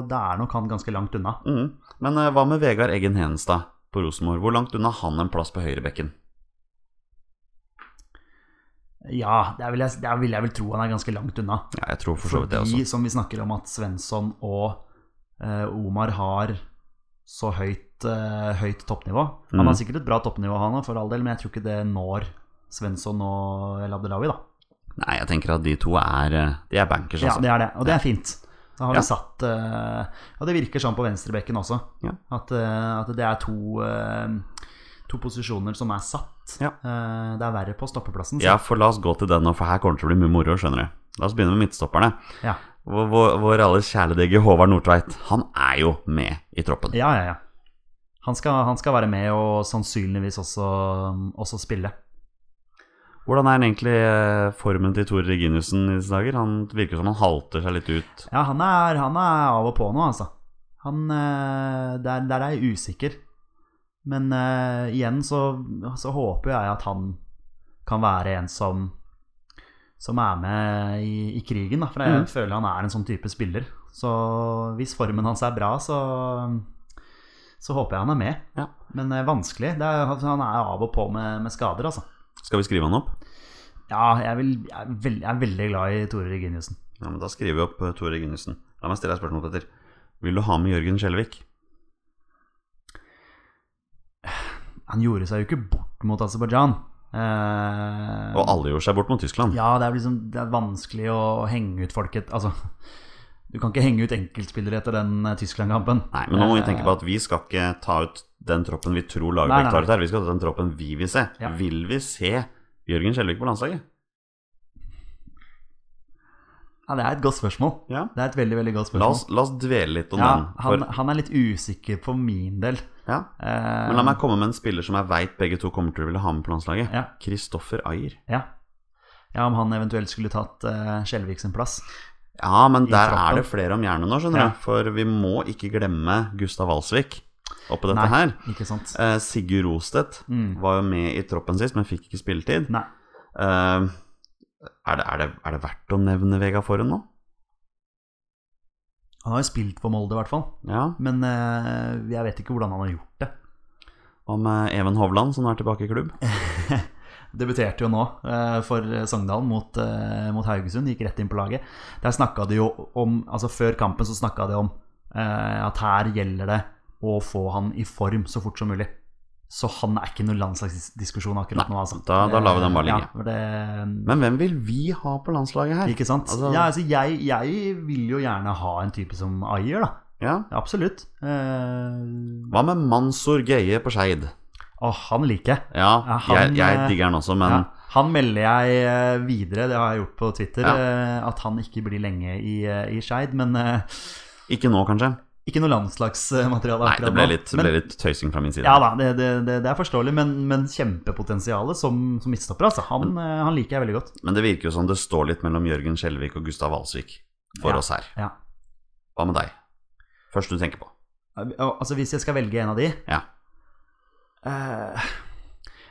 da er nok han ganske langt unna. Mm. Men eh, hva med Vegard Eggen Henestad på Rosenborg? Hvor langt unna han en plass på høyrebekken? Ja, der vil, jeg, der vil jeg vel tro han er ganske langt unna. Ja, jeg tror for så vidt det Fordi, også. som vi snakker om, at Svensson og eh, Omar har så høyt, eh, høyt toppnivå. Han Mm. har sikkert et bra toppnivå, han òg, for all del, men jeg tror ikke det når Svensson og El Abdelawi, da. Nei, jeg tenker at de to er eh, De er bankers, Ja, altså. det er det, og det er fint. Da har Ja. vi satt eh, Ja, det virker sånn på venstrebekken også. Ja. At, eh, at det er to eh, To posisjoner som er satt. Ja. Eh, det er verre på stoppeplassen. så- Ja, for la oss gå til den nå, for her kommer det til å bli mye moro, skjønner du. La oss begynne med midtstopperne. Ja. Vår, vår, vår alles kjæledegge Håvard Nordtveit, han er jo med i troppen. Ja, ja, ja. Han skal, han skal være med og sannsynligvis også, også spille. Hvordan er egentlig eh, formen til Tore Reginiussen i disse dager? Han virker som han halter seg litt ut. Ja, han er, han er av og på nå, altså. Han, eh, der, der er jeg usikker. Men eh, igjen så, så håper jeg at han kan være en som som er med i, i krigen, da. For jeg Mhm. føler han er en sånn type spiller. Så hvis formen hans er bra, så, så håper jeg han er med. Ja. Men eh, vanskelig. Det er, han er av og på med, med skader, altså. Skal vi skrive han opp? Ja, jeg, vil, jeg, er veld, jeg er veldig glad i Tore Reginiussen. Ja, men Da skriver vi opp eh, Tore Reginiussen. La meg stille deg et spørsmål, Petter. Vil du ha med Jørgen Skjelvik? Han gjorde seg jo ikke bort mot Aserbajdsjan. Eh, Og alle gjorde seg bort mot Tyskland. Ja, det er, liksom, det er vanskelig å henge ut folk et, Altså, du kan ikke henge ut enkeltspillere etter den eh, Tyskland-kampen. Nei, men nå må vi tenke på at vi skal ikke ta ut den troppen vi tror Eh, Nei, nei, Lagerbäck tar ut her. Vi skal ta den troppen vi vil se. Ja. Vil vi se Jørgen Skjelvik på landslaget? Ja, det er et godt spørsmål. Ja. Det er et veldig, veldig godt La spørsmål. oss, la oss dvele litt om ja, den. han, For, han er litt usikker på min del. ja. Eh, Men la meg komme med en spiller som jeg veit begge to kommer til å ville ha med på landslaget. Eh, Ja. Kristoffer Ayer. ja. ja, om han eventuelt skulle tatt eh, Skjelvik sin plass. Ja, men I der troppen. er det flere om jernet nå, skjønner Ja. du. For vi må ikke glemme Gustav Walsvik oppå dette Nei. her. Ikke sant? Eh, Sigurd Rostedt Mm. var jo med i troppen sist, men fikk ikke spilletid. Nei. Eh, er, det, er, det, er det verdt å nevne Vega Forhen nå? Han har jo spilt for Molde, i hvert fall. Ja. Men eh, jeg vet ikke hvordan han har gjort det. Hva med Even Hovland, som nå er tilbake i klubb? Debuterte jo nå eh, for Sogndal mot, eh, mot Haugesund, gikk rett inn på laget. Der snakka de jo om Altså Før kampen så snakka de om eh, at her gjelder det å få han i form så fort som mulig. Så han er ikke noen landslagsdiskusjon akkurat nå, altså. da- da lar vi den bare ligge. Ja, for det, Men hvem vil vi ha på landslaget her? ikke sant? altså- ja, altså, jeg, jeg vil jo gjerne ha en type som Ayer, da. Ja. Absolutt. Eh, Hva med Mansour Geie på Skeid? å, han liker jeg. Ja, Ja, han, jeg, jeg eh, digger han også, men ja, han melder jeg eh, videre, det har jeg gjort på Twitter, Ja. eh, at han ikke blir lenge i, eh, i Skeid. Men eh, ikke nå, kanskje. Ikke noe landslagsmateriale. Nei, akkurat det ble nå. litt, det Men- ble litt tøysing fra min side. Ja da, det, det, det, det er forståelig, men, men kjempepotensialet som, som midtstopper, altså. Han, Mm. eh, han liker jeg veldig godt. Men det virker jo som det står litt mellom Jørgen Skjelvik og Gustav Alsvik for Ja. oss her. Ja. Hva med deg? Først du tenker på. Al- Altså, hvis jeg skal velge en av de Ja. eh,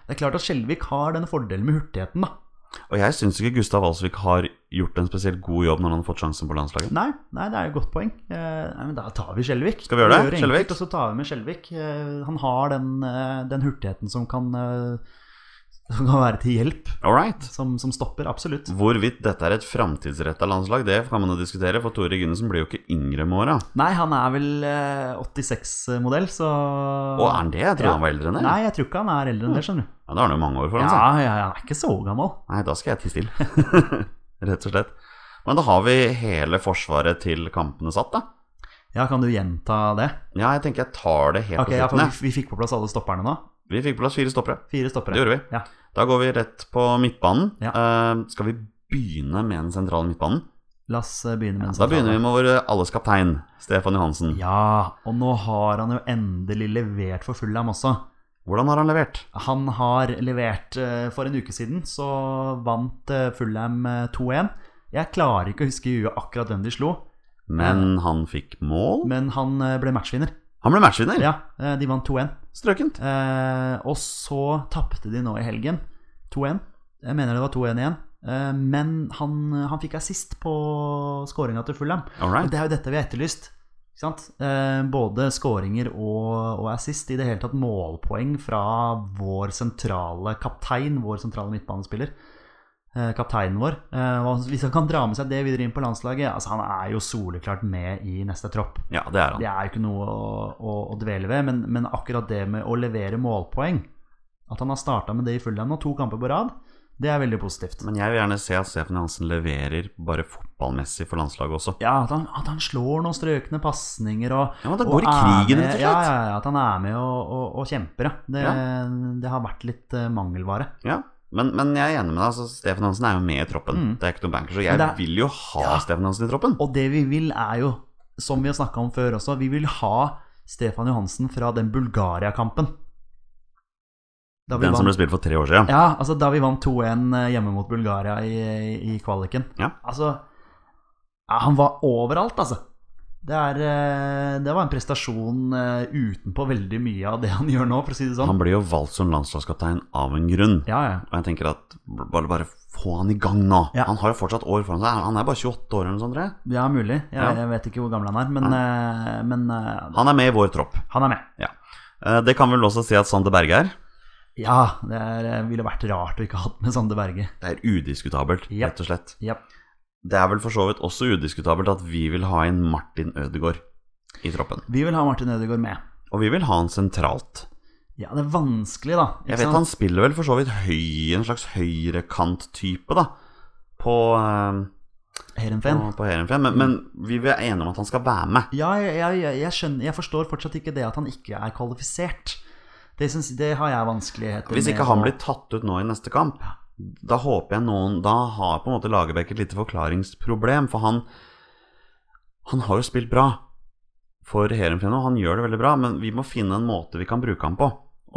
Det er klart at Skjelvik har denne fordelen med hurtigheten, da. Og jeg syns ikke Gustav Alsvik har gjort en spesielt god jobb når han har fått sjansen på landslaget. Nei, nei det er et godt poeng. Eh, nei, men da tar vi Skjelvik. Skal vi gjøre det? gjør Skjelvik? enkelt, Og så tar vi med Skjelvik. Eh, han har den, eh, den hurtigheten som kan, eh, som kan være til hjelp, All right. som, som stopper. Mm. Absolutt. Hvorvidt dette er et framtidsretta landslag, det kan man jo diskutere, for Tore Gunnesen blir jo ikke yngre med åra. Nei, han er vel 86-modell, så Og er han det? Jeg tror Ja. han var eldre enn det. Nei, jeg tror ikke han er eldre enn det, skjønner du. Ja, da har han sånn. jo mange år Ja, foran seg. ja, ja, han er ikke så gammel. Nei, da skal jeg tie stille. <laughs> Rett og slett. Men da har vi hele forsvaret til kampene satt, da. Ja, kan du gjenta det? Ja, jeg tenker jeg tar det helt Ok, ja, på for slutten. jeg. vi, vi fikk på plass alle stopperne nå. Vi fikk på plass fire stoppere. Fire Det stoppere. gjorde vi. Ja. Da går vi rett på midtbanen. Ja. Eh, skal vi begynne med den sentrale midtbanen? La oss eh, begynne med den Da begynner vi med vår eh, alles kaptein, Stefan Johansen. Ja, og nå har han jo endelig levert for Fulham også. Hvordan har han levert? Han har levert eh, for en uke siden, så vant eh, Fulham eh, 2-1. Jeg klarer ikke å huske i huet akkurat hvem de slo, Men han fikk mål. men han eh, ble matchvinner. Han ble matchvinner. Ja, eh, de vant 2-1. Strøkent. Eh, og så tapte de nå i helgen 2-1. Jeg mener det var 2-1 igjen. Eh, men han, eh, han fikk assist på skåringa til Fulham. All Og right. det er jo dette vi har etterlyst. Ikke sant? Eh, både skåringer og, og assist. I det hele tatt målpoeng fra vår sentrale kaptein, vår sentrale midtbanespiller. Eh, kapteinen vår. Eh, og hvis han kan dra med seg det videre inn på landslaget altså Han er jo soleklart med i neste tropp. Ja, det er han. Det er jo ikke noe å, å, å dvele ved, men, men akkurat det med å levere målpoeng At han har starta med det i Fulham nå, to kamper på rad, det er veldig positivt. Men jeg vil gjerne se at Stefan Johansen leverer bare fotballmessig for landslaget også. ja, at han, at han slår noen strøkne pasninger og Ja, men da og går i er krigen, med- rett og slett. Ja, ja, ja, at han er med og, og, og kjemper, ja. Det, det har vært litt eh, mangelvare. Ja, men, men jeg er enig med deg. Altså, Stefan Hansen er jo med i troppen. Mm. Det er ikke noen banker, så jeg Men det er- vil jo ha Ja. Stefan Hansen i troppen. Og det vi vil, er jo, som vi har snakka om før også, vi vil ha Stefan Johansen fra den Bulgaria-kampen. Da vi Den som vant- ble spilt for tre år siden. Ja, altså da vi vant 2-1 hjemme mot Bulgaria i, i, i kvaliken. Ja. Altså ja, Han var overalt, altså. Det, er, eh, det var en prestasjon eh, utenpå veldig mye av det han gjør nå, for å si det sånn. Han ble jo valgt som landslagskaptein av en grunn. Ja, ja. Og jeg tenker at bare, bare få han i gang nå. Ja. Han har jo fortsatt år foran seg. Han er bare 28 år eller noe sånt. tror jeg. ja, mulig. Jeg, Ja. jeg vet ikke hvor gammel han er, men, eh, men eh, Han er med i vår tropp. han er med. Eh, Det kan vel også si at Sander Berge er. Ja, det er, eh, ville vært rart å ikke ha hatt med Sande Berge. Det er udiskutabelt, Ja. rett og slett. Ja. Det er vel for så vidt også udiskutabelt at vi vil ha inn Martin Ødegaard i troppen. Vi vil ha Martin Ødegaard med. Og vi vil ha han sentralt. Ja, det er vanskelig, da. ikke Jeg vet sant? han spiller vel for så vidt høy, en slags høyrekant-type, da. På, eh, Heerenveen. på, på Heerenveen. Men, men vi er enige om at han skal være med. Ja, jeg, jeg, jeg- jeg, skjønner, jeg forstår fortsatt ikke det at han ikke er kvalifisert. Det, syns- det har jeg vanskeligheter Hvis ikke med han å- blir tatt ut nå i neste kamp, da håper jeg noen Da har på en måte Lagerbäck et lite forklaringsproblem, for han Han har jo spilt bra for Heerenveen, og han gjør det veldig bra, men vi må finne en måte vi kan bruke ham på.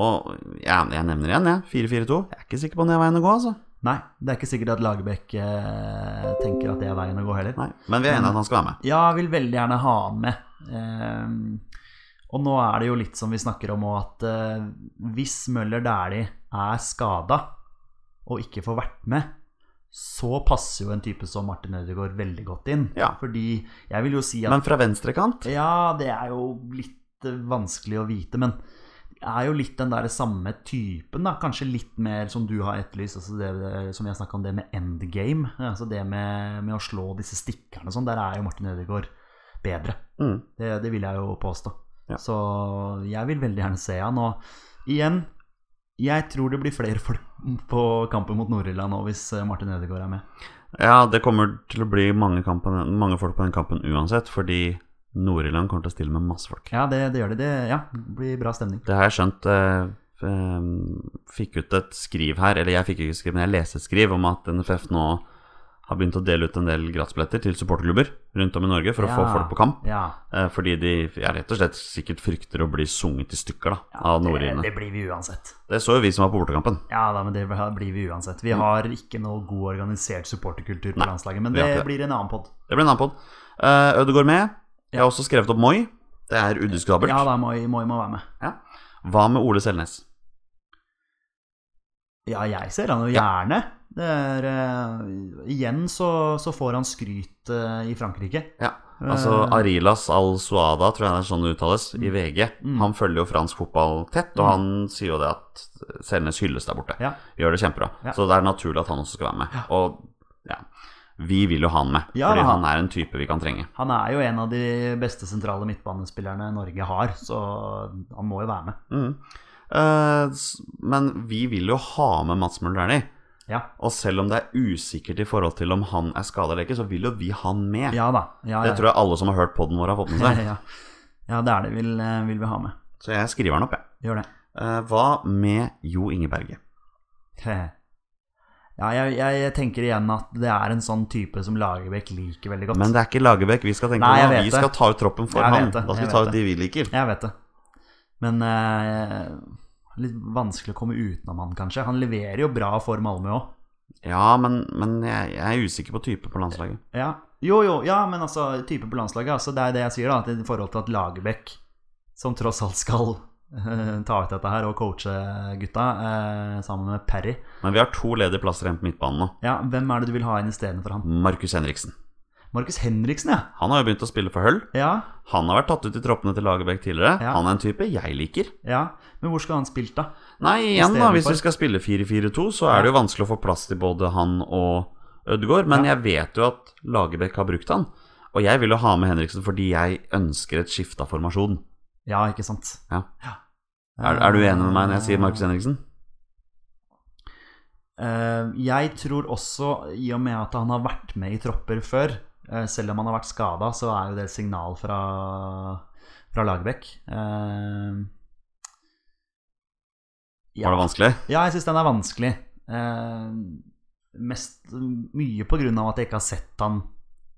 Og jeg, jeg nevner igjen, jeg. 4-4-2. Jeg er ikke sikker på om det er veien å gå, altså. Nei, det er ikke sikkert at Lagerbäck eh, tenker at det er veien å gå heller. Nei. Men vi er enige om at han skal være med. Ja, jeg vil veldig gjerne ha han med. Eh, og nå er det jo litt som vi snakker om òg, at eh, hvis Møller Dæhlie er skada og ikke får vært med, så passer jo en type som Martin Ødegaard veldig godt inn. Ja. Fordi jeg vil jo si at Men fra venstrekant Ja, det er jo litt eh, vanskelig å vite, men det er jo litt den der samme typen, da. Kanskje litt mer som du har etterlyst, altså det, det- som jeg snakka om, det med endgame. Altså det med, med å slå disse stikkerne og sånn. Der er jo Martin Ødegaard bedre. mm. Det, det vil jeg jo påstå. Ja. Så jeg vil veldig gjerne se han. Og igjen, jeg tror det blir flere folk på kampen mot Nord-Irland nå hvis eh, Martin Ødegaard er med. Ja, det kommer til å bli mange, kampen, mange folk på den kampen uansett, fordi Nord-Irland kommer til å stille med masse folk. Ja, det, det gjør det. det. Ja, det blir bra stemning. Det har jeg skjønt eh, ehm, f- eh, Fikk ut et skriv her, eller jeg fikk ikke skriv, men jeg leste et skriv om at NFF nå har begynt å dele ut en del gratisbilletter til supporterklubber rundt om i Norge for å få Ja. folk på kamp. Ja. Eh, Fordi de ja, rett og slett sikkert frykter å bli sunget i stykker da, av det, nordriene. det blir vi uansett. Det så jo vi som var på bortekampen. Ja da, men det blir vi uansett. Vi har ikke noe god organisert supporterkultur på landslaget, men Mm. vi har det ikke det. blir en annen pod. Det ble en annen pod. Eh, Ødegaard med. Jeg har også skrevet opp Moi. Det er udiskutabelt. Ja da, Moi Moi må være med. Hva med Ole Selnes? Ja, jeg ser han jo gjerne. Det er, eh, igjen så, så får han skryt eh, i Frankrike. Ja, altså Eh. Arilas Al-Suada, tror jeg det er sånn det uttales, i VG. Mm. Han følger jo fransk fotball tett, og han sier jo det at Selnes hylles der borte. Ja. Gjør det kjempebra. Ja. Så det er naturlig at han også skal være med. Og ja, vi vil jo ha han med, Ja, fordi han- han er en type vi kan trenge. Han er jo en av de beste sentrale midtbanespillerne Norge har, så han må jo være med. Mm. Eh, s- men vi vil jo ha med Mats Møller Dæhlie. Ja, Og selv om det er usikkert i forhold til om han er skada eller ikke, så vil jo vi ha han med. ja da. Ja, Det tror jeg alle som har hørt podden vår, har fått med <laughs> seg. ja. ja, det er det vil, eh, vil vi ha med. Så jeg skriver han opp, jeg. Gjør det. Eh, hva med Jo Ingeberget? <laughs> Ja, jeg, jeg tenker igjen at det er en sånn type som Lagerbäck liker veldig godt. Men det er ikke Lagerbäck vi skal tenke Nei, jeg på nå. vet Vi det. skal ta ut troppen for Jeg han. vet det, Da skal jeg vi ta vet ut de vi liker. Jeg vet det. Men eh, litt vanskelig å komme utenom han, kanskje. Han leverer jo bra for Malmö òg. Ja, men, men jeg, jeg er usikker på type på landslaget. Ja. Jo, jo, ja, men altså type på landslaget. Altså, det er det jeg sier, da. at I forhold til at Lagerbäck, som tross alt skal eh, ta ut dette her og coache gutta, eh, sammen med Perry Men vi har to ledige plasser igjen på midtbanen nå. Ja, hvem er det du vil ha inn istedenfor han? Markus Henriksen. Markus Henriksen, ja. Han har jo begynt å spille for Hull. ja. Han har vært tatt ut i troppene til Lagerbäck tidligere. Ja. Han er en type jeg liker. Ja. Men hvor skal han spilt, da? Nei, igjen da, stedet hvis for- vi skal spille 4-4-2, så er det jo vanskelig å få plass til både han og Ødegaard. Men jeg vet jo at Lagerbäck har brukt han. Og jeg vil jo ha med Henriksen fordi jeg ønsker et skifte av formasjon. Ja, ikke sant. Ja. Er, er du enig med meg når jeg sier Markus Henriksen? Eh, jeg tror også, i og med at han har vært med i tropper før, eh, selv om han har vært skada, så er jo det et signal fra, fra Lagerbäck. Eh, Var det vanskelig? Ja, jeg syns den er vanskelig. Eh, mest, mye på grunn av at jeg ikke har sett han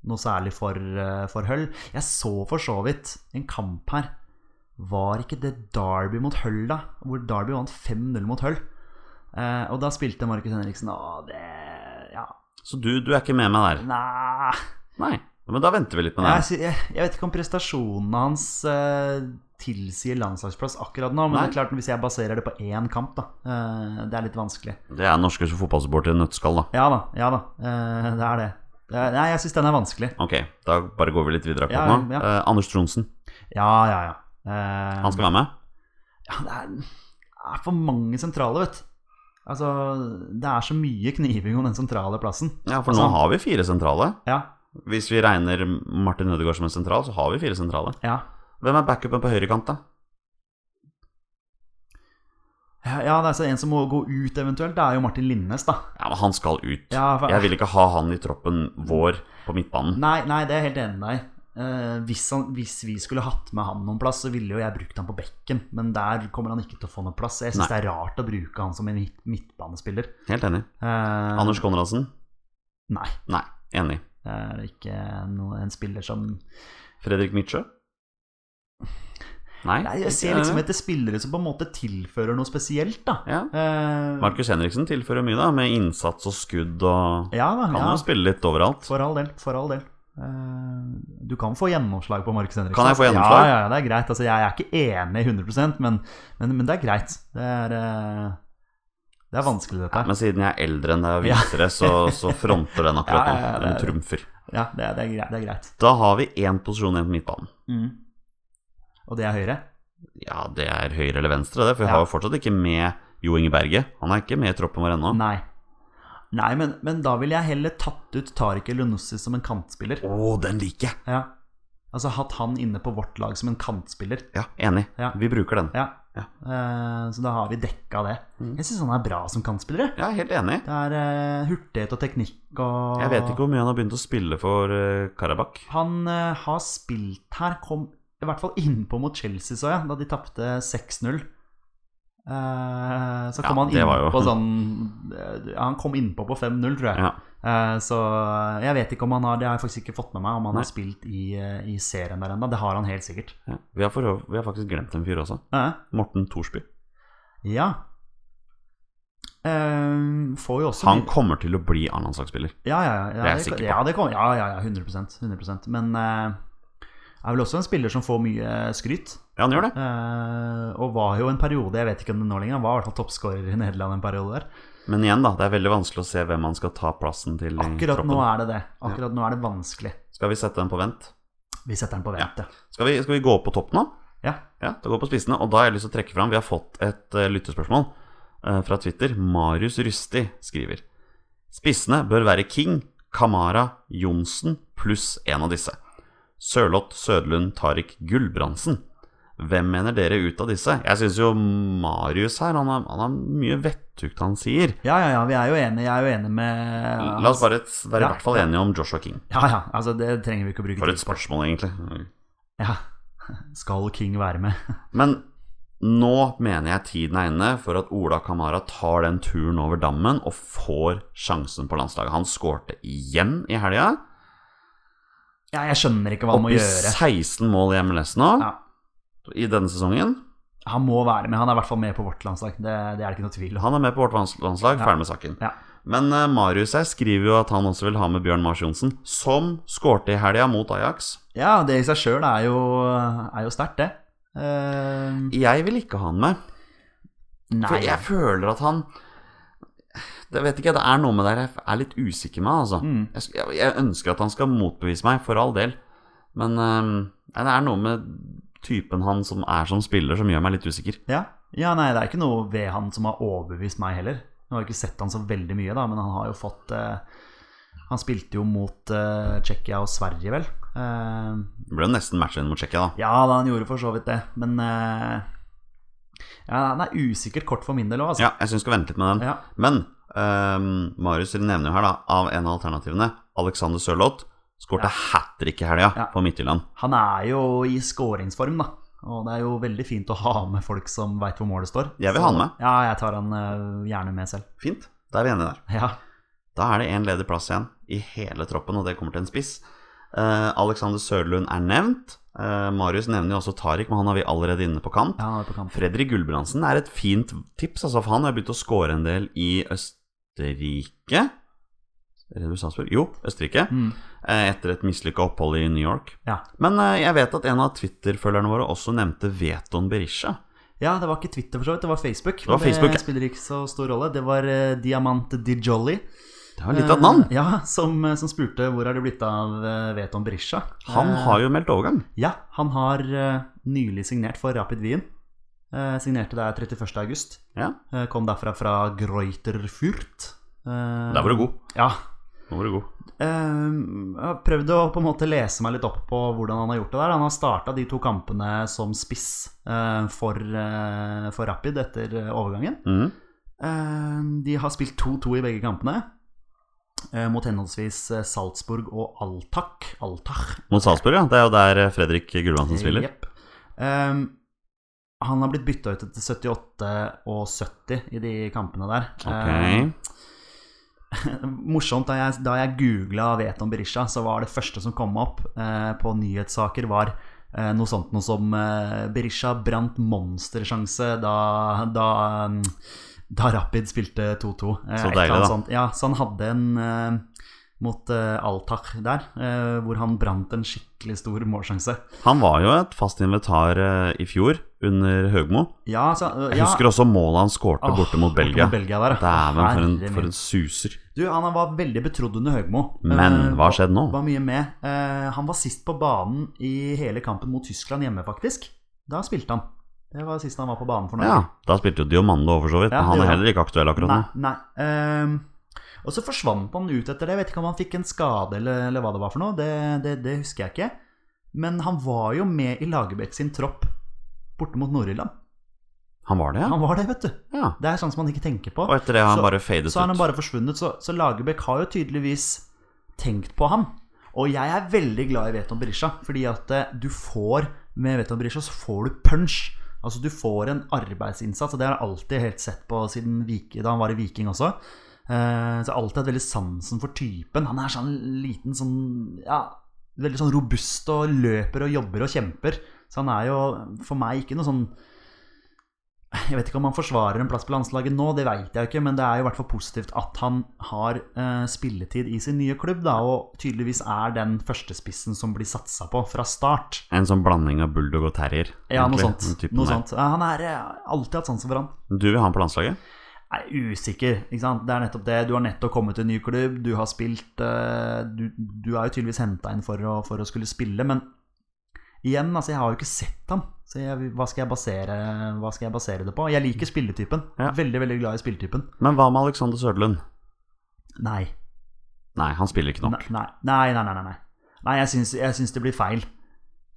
noe særlig for, eh, for Hull. Jeg så for så vidt en kamp her. Var ikke det Derby mot Hull, da? Hvor Derby vant 5-0 mot Hull. Eh, og da spilte Markus Henriksen og det Ja, Så du, du er ikke med meg der? nei Nei. Men da venter vi litt med jeg, det. sy- jeg, jeg vet ikke om prestasjonene hans eh, tilsier landslagsplass akkurat nå. Men Nei. det er klart hvis jeg baserer det på én kamp, da. eh, det er litt vanskelig. Det er norske fotballsupportere i et nøtteskall, da. Ja da, ja da. eh, det er det. Det er- Nei, jeg syns den er vanskelig. Ok, da bare går vi litt videre akkurat Ja, nå. ja. Eh, Anders Tronsen, Ja, ja, ja. Eh, han skal være med? ja det, er, det er for mange sentrale, vet du. Altså, det er så mye kniving om den sentrale plassen. Ja, for nå Altså- har vi fire sentrale. Ja, Hvis vi regner Martin Ødegaard som en sentral, så har vi fire sentrale. ja. Hvem er backupen på høyrekant, da? Ja, det er så en som må gå ut eventuelt. Det er jo Martin Linnes, da. Ja, men han skal ut. Ja, for- Jeg vil ikke ha han i troppen vår på midtbanen. Nei, nei, det er jeg helt enig med deg i. Eh, hvis, han, hvis vi skulle hatt med han noen plass, så ville jo jeg brukt han på bekken. Men der kommer han ikke til å få noen plass. Jeg syns Nei. det er rart å bruke han som en midt, midtbanespiller. Helt enig. Eh, Anders Konradsen? Nei. Nei, enig. Det er ikke noe, en spiller som Fredrik Mitsjø? Nei. Nei, Jeg ser liksom etter spillere som på en måte tilfører noe spesielt, da. ja. Eh, Markus Henriksen tilfører mye, da, med innsats og skudd og ja da, Kan ja. jo spille litt overalt. For all del. For all del. Eh, du kan få gjennomslag på Markus Henriksen. Kan jeg få altså. gjennomslag? Ja, ja, ja, det er greit. Altså, jeg er ikke enig 100 men, men, men det er greit. Det er, eh, det er vanskelig, dette her. Men siden jeg er eldre enn deg og visere, så, så fronter den akkurat Ja, ja, ja, nå. Den det er- trumfer. Ja, det er, det er greit. Det er greit. Da har vi én posisjon igjen på midtbanen. Mm. Og det er høyre? Ja, det er høyre eller venstre, det, for vi Ja. har jo fortsatt ikke med Jo Inge Berge. Han er ikke med i troppen vår ennå. Nei. Nei, men, men da ville jeg heller tatt ut Tariq Elunussi som en kantspiller. Å, den liker jeg! Ja. Altså hatt han inne på vårt lag som en kantspiller. Ja, enig. Ja. Vi bruker den. Ja. Ja. Mm. Eh, så da har vi dekka det. Jeg syns han er bra som kantspiller. jeg. Jeg er helt enig. Det er eh, hurtighet og teknikk og Jeg vet ikke hvor mye han har begynt å spille for eh, Karabakh. Han eh, har spilt her, kom i hvert fall innpå mot Chelsea, så jeg, da de tapte 6-0. Eh, så kom Ja, han det var innpå jo- på sånn eh, Han kom innpå på 5-0, tror jeg. Ja. Eh, Så jeg vet ikke om han har Det har jeg faktisk ikke fått med meg om han Nei. har spilt i, eh, i serien der ennå. Det har han helt sikkert. Ja. Vi, har for, vi har faktisk glemt en fyr også. Eh, Morten Thorsby. Ja. Eh, får jo også Han kommer til å bli A-landslagsspiller. Ja, ja, ja, ja, Det er jeg det- sikker på. Ja, det kom, ja, ja, ja 100, 100 Men eh, er vel også en spiller som får mye eh, skryt. Ja, han gjør det. Eh, og var jo en periode, jeg vet ikke om det er nå lenger, han var i hvert fall toppskårer i Nederland en periode der. Men igjen, da. Det er veldig vanskelig å se hvem han skal ta plassen til i Mm, Akkurat troppen. nå er det det. Akkurat nå er det vanskelig. Skal vi sette den på vent? Vi setter den på vent, ja. Skal vi, skal vi gå opp på topp nå? ja. Ja, det går på spissene. Og da har jeg lyst til å trekke fram Vi har fått et eh, lyttespørsmål eh, fra Twitter. Marius Rysti skriver Spissene bør være King, Kamara, Johnsen pluss en av disse. Sørloth, Sødlund, Tariq, Gulbrandsen. Hvem mener dere ut av disse? Jeg syns jo Marius her, han har, han har mye vettugt han sier. Ja, ja, ja, vi er jo enige. Jeg er jo enig med La oss bare s- være Ja, i hvert fall enige om Joshua King. Ja, ja, altså det trenger vi ikke å bruke For et tid på. spørsmål, egentlig. Ja. <laughs> Skal King være med? <laughs> Men nå mener jeg tiden er inne for at Ola Kamara tar den turen over dammen og får sjansen på landslaget. Han skårte igjen i helga. Ja, jeg skjønner ikke hva han må Opp i gjøre. 16 mål i MLS nå Ja. i denne sesongen. Han må være med. Han er i hvert fall med på vårt landslag. Det, det er det ikke noe tvil om. Han er med på vårt lands- landslag. Ja. Ferdig med saken. Ja. Men eh, Marius her skriver jo at han også vil ha med Bjørn Mars Johnsen, som skårte i helga mot Ajax. Ja, det i seg sjøl er jo, er jo sterkt, det. Eh, Jeg vil ikke ha han med. For nei. jeg føler at han Det vet ikke, jeg, det er noe med det her jeg er litt usikker med, altså. Mm. Jeg, sk- jeg, jeg ønsker at han skal motbevise meg, for all del. Men øhm, nei, det er noe med typen han som er som spiller, som gjør meg litt usikker. Ja. ja, nei, det er ikke noe ved han som har overbevist meg heller. Jeg har ikke sett han så veldig mye, da, men han har jo fått eh, Han spilte jo mot eh, Tsjekkia og Sverige, vel. Eh, Det ble jo nesten matchen mot Tsjekkia, da. ja da, han gjorde for så vidt det, men eh, Ja, han er usikkert kort for min del òg, altså. Ja, jeg syns vi skal vente litt med den. Ja. Men øhm, Marius nevner jo her, da, av en av alternativene, Alexander Sørloth skårte hat trick i helga Ja. på Midtjylland. Han er jo i skåringsform, da. Og det er jo veldig fint å ha med folk som veit hvor målet står. Jeg vil Så- ha han med. Ja, jeg tar han eh, gjerne med selv. <laughs> Fint. Da er vi enige der. Ja. Da er det én ledig plass igjen i hele troppen, og det kommer til en spiss. Eh, Alexander Sørlund er nevnt. Eh, Marius nevner jo også Tariq, men han har vi allerede inne på kamp. ja, han er på kamp. Fredrik Gulbrandsen er et fint tips, altså, for han har begynt å score en del i Østerrike. Eller det Salzburg? Jo, Østerrike. Mm. eh, Etter et mislykka opphold i New York. Ja. Men eh, jeg vet at en av Twitter-følgerne våre også nevnte Veton Berisha. Ja, det var ikke Twitter for så vidt, det var Facebook. var Men Facebook, ja. det spiller ikke så stor rolle. Det var eh, Diamant Di Jolly. Det var litt av et navn. Eh, ja, som, som spurte hvor er det blitt av eh, Veton Berisha. Han Eh, har jo meldt overgang. Ja, han har eh, nylig signert for Rapid Wien. Eh, signerte der 31. august. Ja, Eh, kom derfra fra Greuterfurt. Eh, Der var du god. Ja. Nå var du god. Eh, jeg har prøvd å på en måte lese meg litt opp på hvordan han har gjort det der. Han har starta de to kampene som spiss eh, for, eh, for Rapid etter eh, overgangen. Mhm. Eh, De har spilt 2-2 i begge kampene. eh, Mot henholdsvis eh, Salzburg og Altak. Altach. Mot Salzburg, ja. Det er jo der eh, Fredrik Gulbrandsen spiller. Jepp. Eh, Han har blitt bytta ut etter 78 og 70 i de kampene der. Eh, Ok. <laughs> Morsomt, da jeg, da jeg googla Veton Berisha, så var det første som kom opp eh, på nyhetssaker, var eh, noe sånt noe som eh, Berisha brant monstersjanse da, da, mm, da Rapid spilte 2-2. Eh, Så et eller deilig, annet da. sånt. Ja, så han hadde en eh, mot eh, Altach der, eh, hvor han brant en skikkelig stor målsjanse. Han var jo et fast invitar eh, i fjor, under Høgmo. Ja, så, Jeg husker også målet han skårte Åh, borte mot Belgia. der. Dæven, for, en- Herre min. for en suser. Du, han var veldig betrodd under Høgmo. Men Eh, hva har skjedd nå? var mye med. Eh, han var sist på banen i hele kampen mot Tyskland hjemme, faktisk. Da spilte han. Det var sist han var på banen for Ja, Norge. Da spilte jo Diomando over så vidt, Ja, men han det er gjorde heller ikke aktuell akkurat nei, nå. nei. Ehm, og så forsvant han ut etter det. Jeg vet ikke om han fikk en skade eller, eller hva det var for noe. Det, det, det husker jeg ikke. Men han var jo med i Lagerbäck sin tropp borte mot Nord-Irland. Han var det, ja? Han var det, vet du. ja. Det er sånn som man ikke tenker på. Og etter det har han Så- bare fadet Så er han ut. bare forsvunnet. Så, så Lagerbäck har jo tydeligvis tenkt på ham. Og jeg er veldig glad i Veton Berisha, fordi at eh, du får med Veton Berisha så får du punch. Altså Du får en arbeidsinnsats, og det har jeg alltid helt sett på siden Vik- da han var i Viking også. Eh, Så jeg har alltid hatt veldig sansen for typen. Han er sånn liten, sånn ja, veldig sånn robust og løper og jobber og kjemper. Så han er jo for meg ikke noe sånn Jeg vet ikke om han forsvarer en plass på landslaget nå, det veit jeg jo ikke, men det er jo i hvert fall positivt at han har eh, spilletid i sin nye klubb, da, og tydeligvis er den førstespissen som blir satsa på fra start. En sånn blanding av bulldog og terrier. Ja, noe egentlig, sånt. den typen Noe der. sånt. Ja, Han er jeg har alltid hatt sansen for han. Du vil ha han på landslaget? Jeg er usikker, ikke sant. Det er nettopp det. Du har nettopp kommet til en ny klubb, du har spilt eh, Du, du er jo tydeligvis henta inn for å, for å skulle spille, men igjen, altså, jeg har jo ikke sett han. Så jeg, hva, skal jeg basere, hva skal jeg basere det på? Jeg liker spilletypen. Ja. Veldig, veldig glad i spilletypen. Men hva med Alexander Sørlund? Nei. Nei, han spiller ikke nok. Nei, nei, nei, nei, nei, nei. nei jeg, syns, jeg syns det blir feil.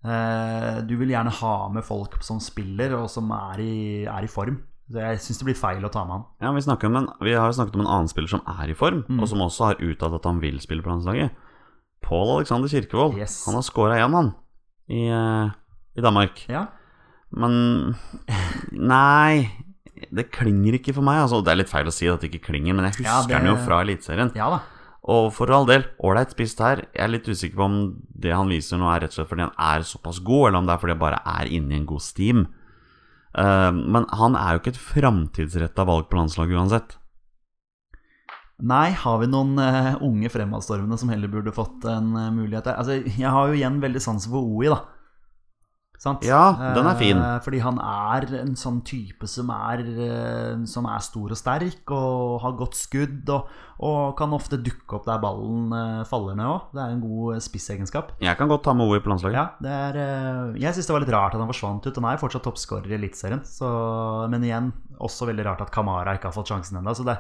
Eh, du vil gjerne ha med folk som spiller, og som er i, er i form. Så jeg syns det blir feil å ta med han. Ja, vi, snakker om en, vi har jo snakket om en annen spiller som er i form, Mm. og som også har uttalt at han vil spille på landslaget. Pål Alexander Kirkevold. Yes. Han har scora igjen, han, i, eh, i Danmark. Ja, Men Nei, det klinger ikke for meg. Altså, det er litt feil å si at det ikke klinger, men jeg husker Ja, det- han jo fra Eliteserien. ja da. Og for all del, ålreit spist her. Jeg er litt usikker på om det han viser nå, er rett og slett fordi han er såpass god, eller om det er fordi han bare er inne i en god steam. Eh, men han er jo ikke et framtidsretta valg på landslaget uansett. Nei, har vi noen eh, unge fremadstormende som heller burde fått en eh, mulighet der? Altså, jeg har jo igjen veldig sansen for OI, da. Sant? Ja, den er Eh, fin. fordi han er en sånn type som er, eh, som er stor og sterk og har godt skudd og, og kan ofte dukke opp der ballen eh, faller ned òg. Det er en god eh, spissegenskap. Jeg kan godt ta med OI på landslaget. Ja, det er, eh, jeg syns det var litt rart at han forsvant ut. Han er jo fortsatt toppskårer i Eliteserien. så- Men igjen, også veldig rart at Kamara ikke har fått sjansen ennå. Så det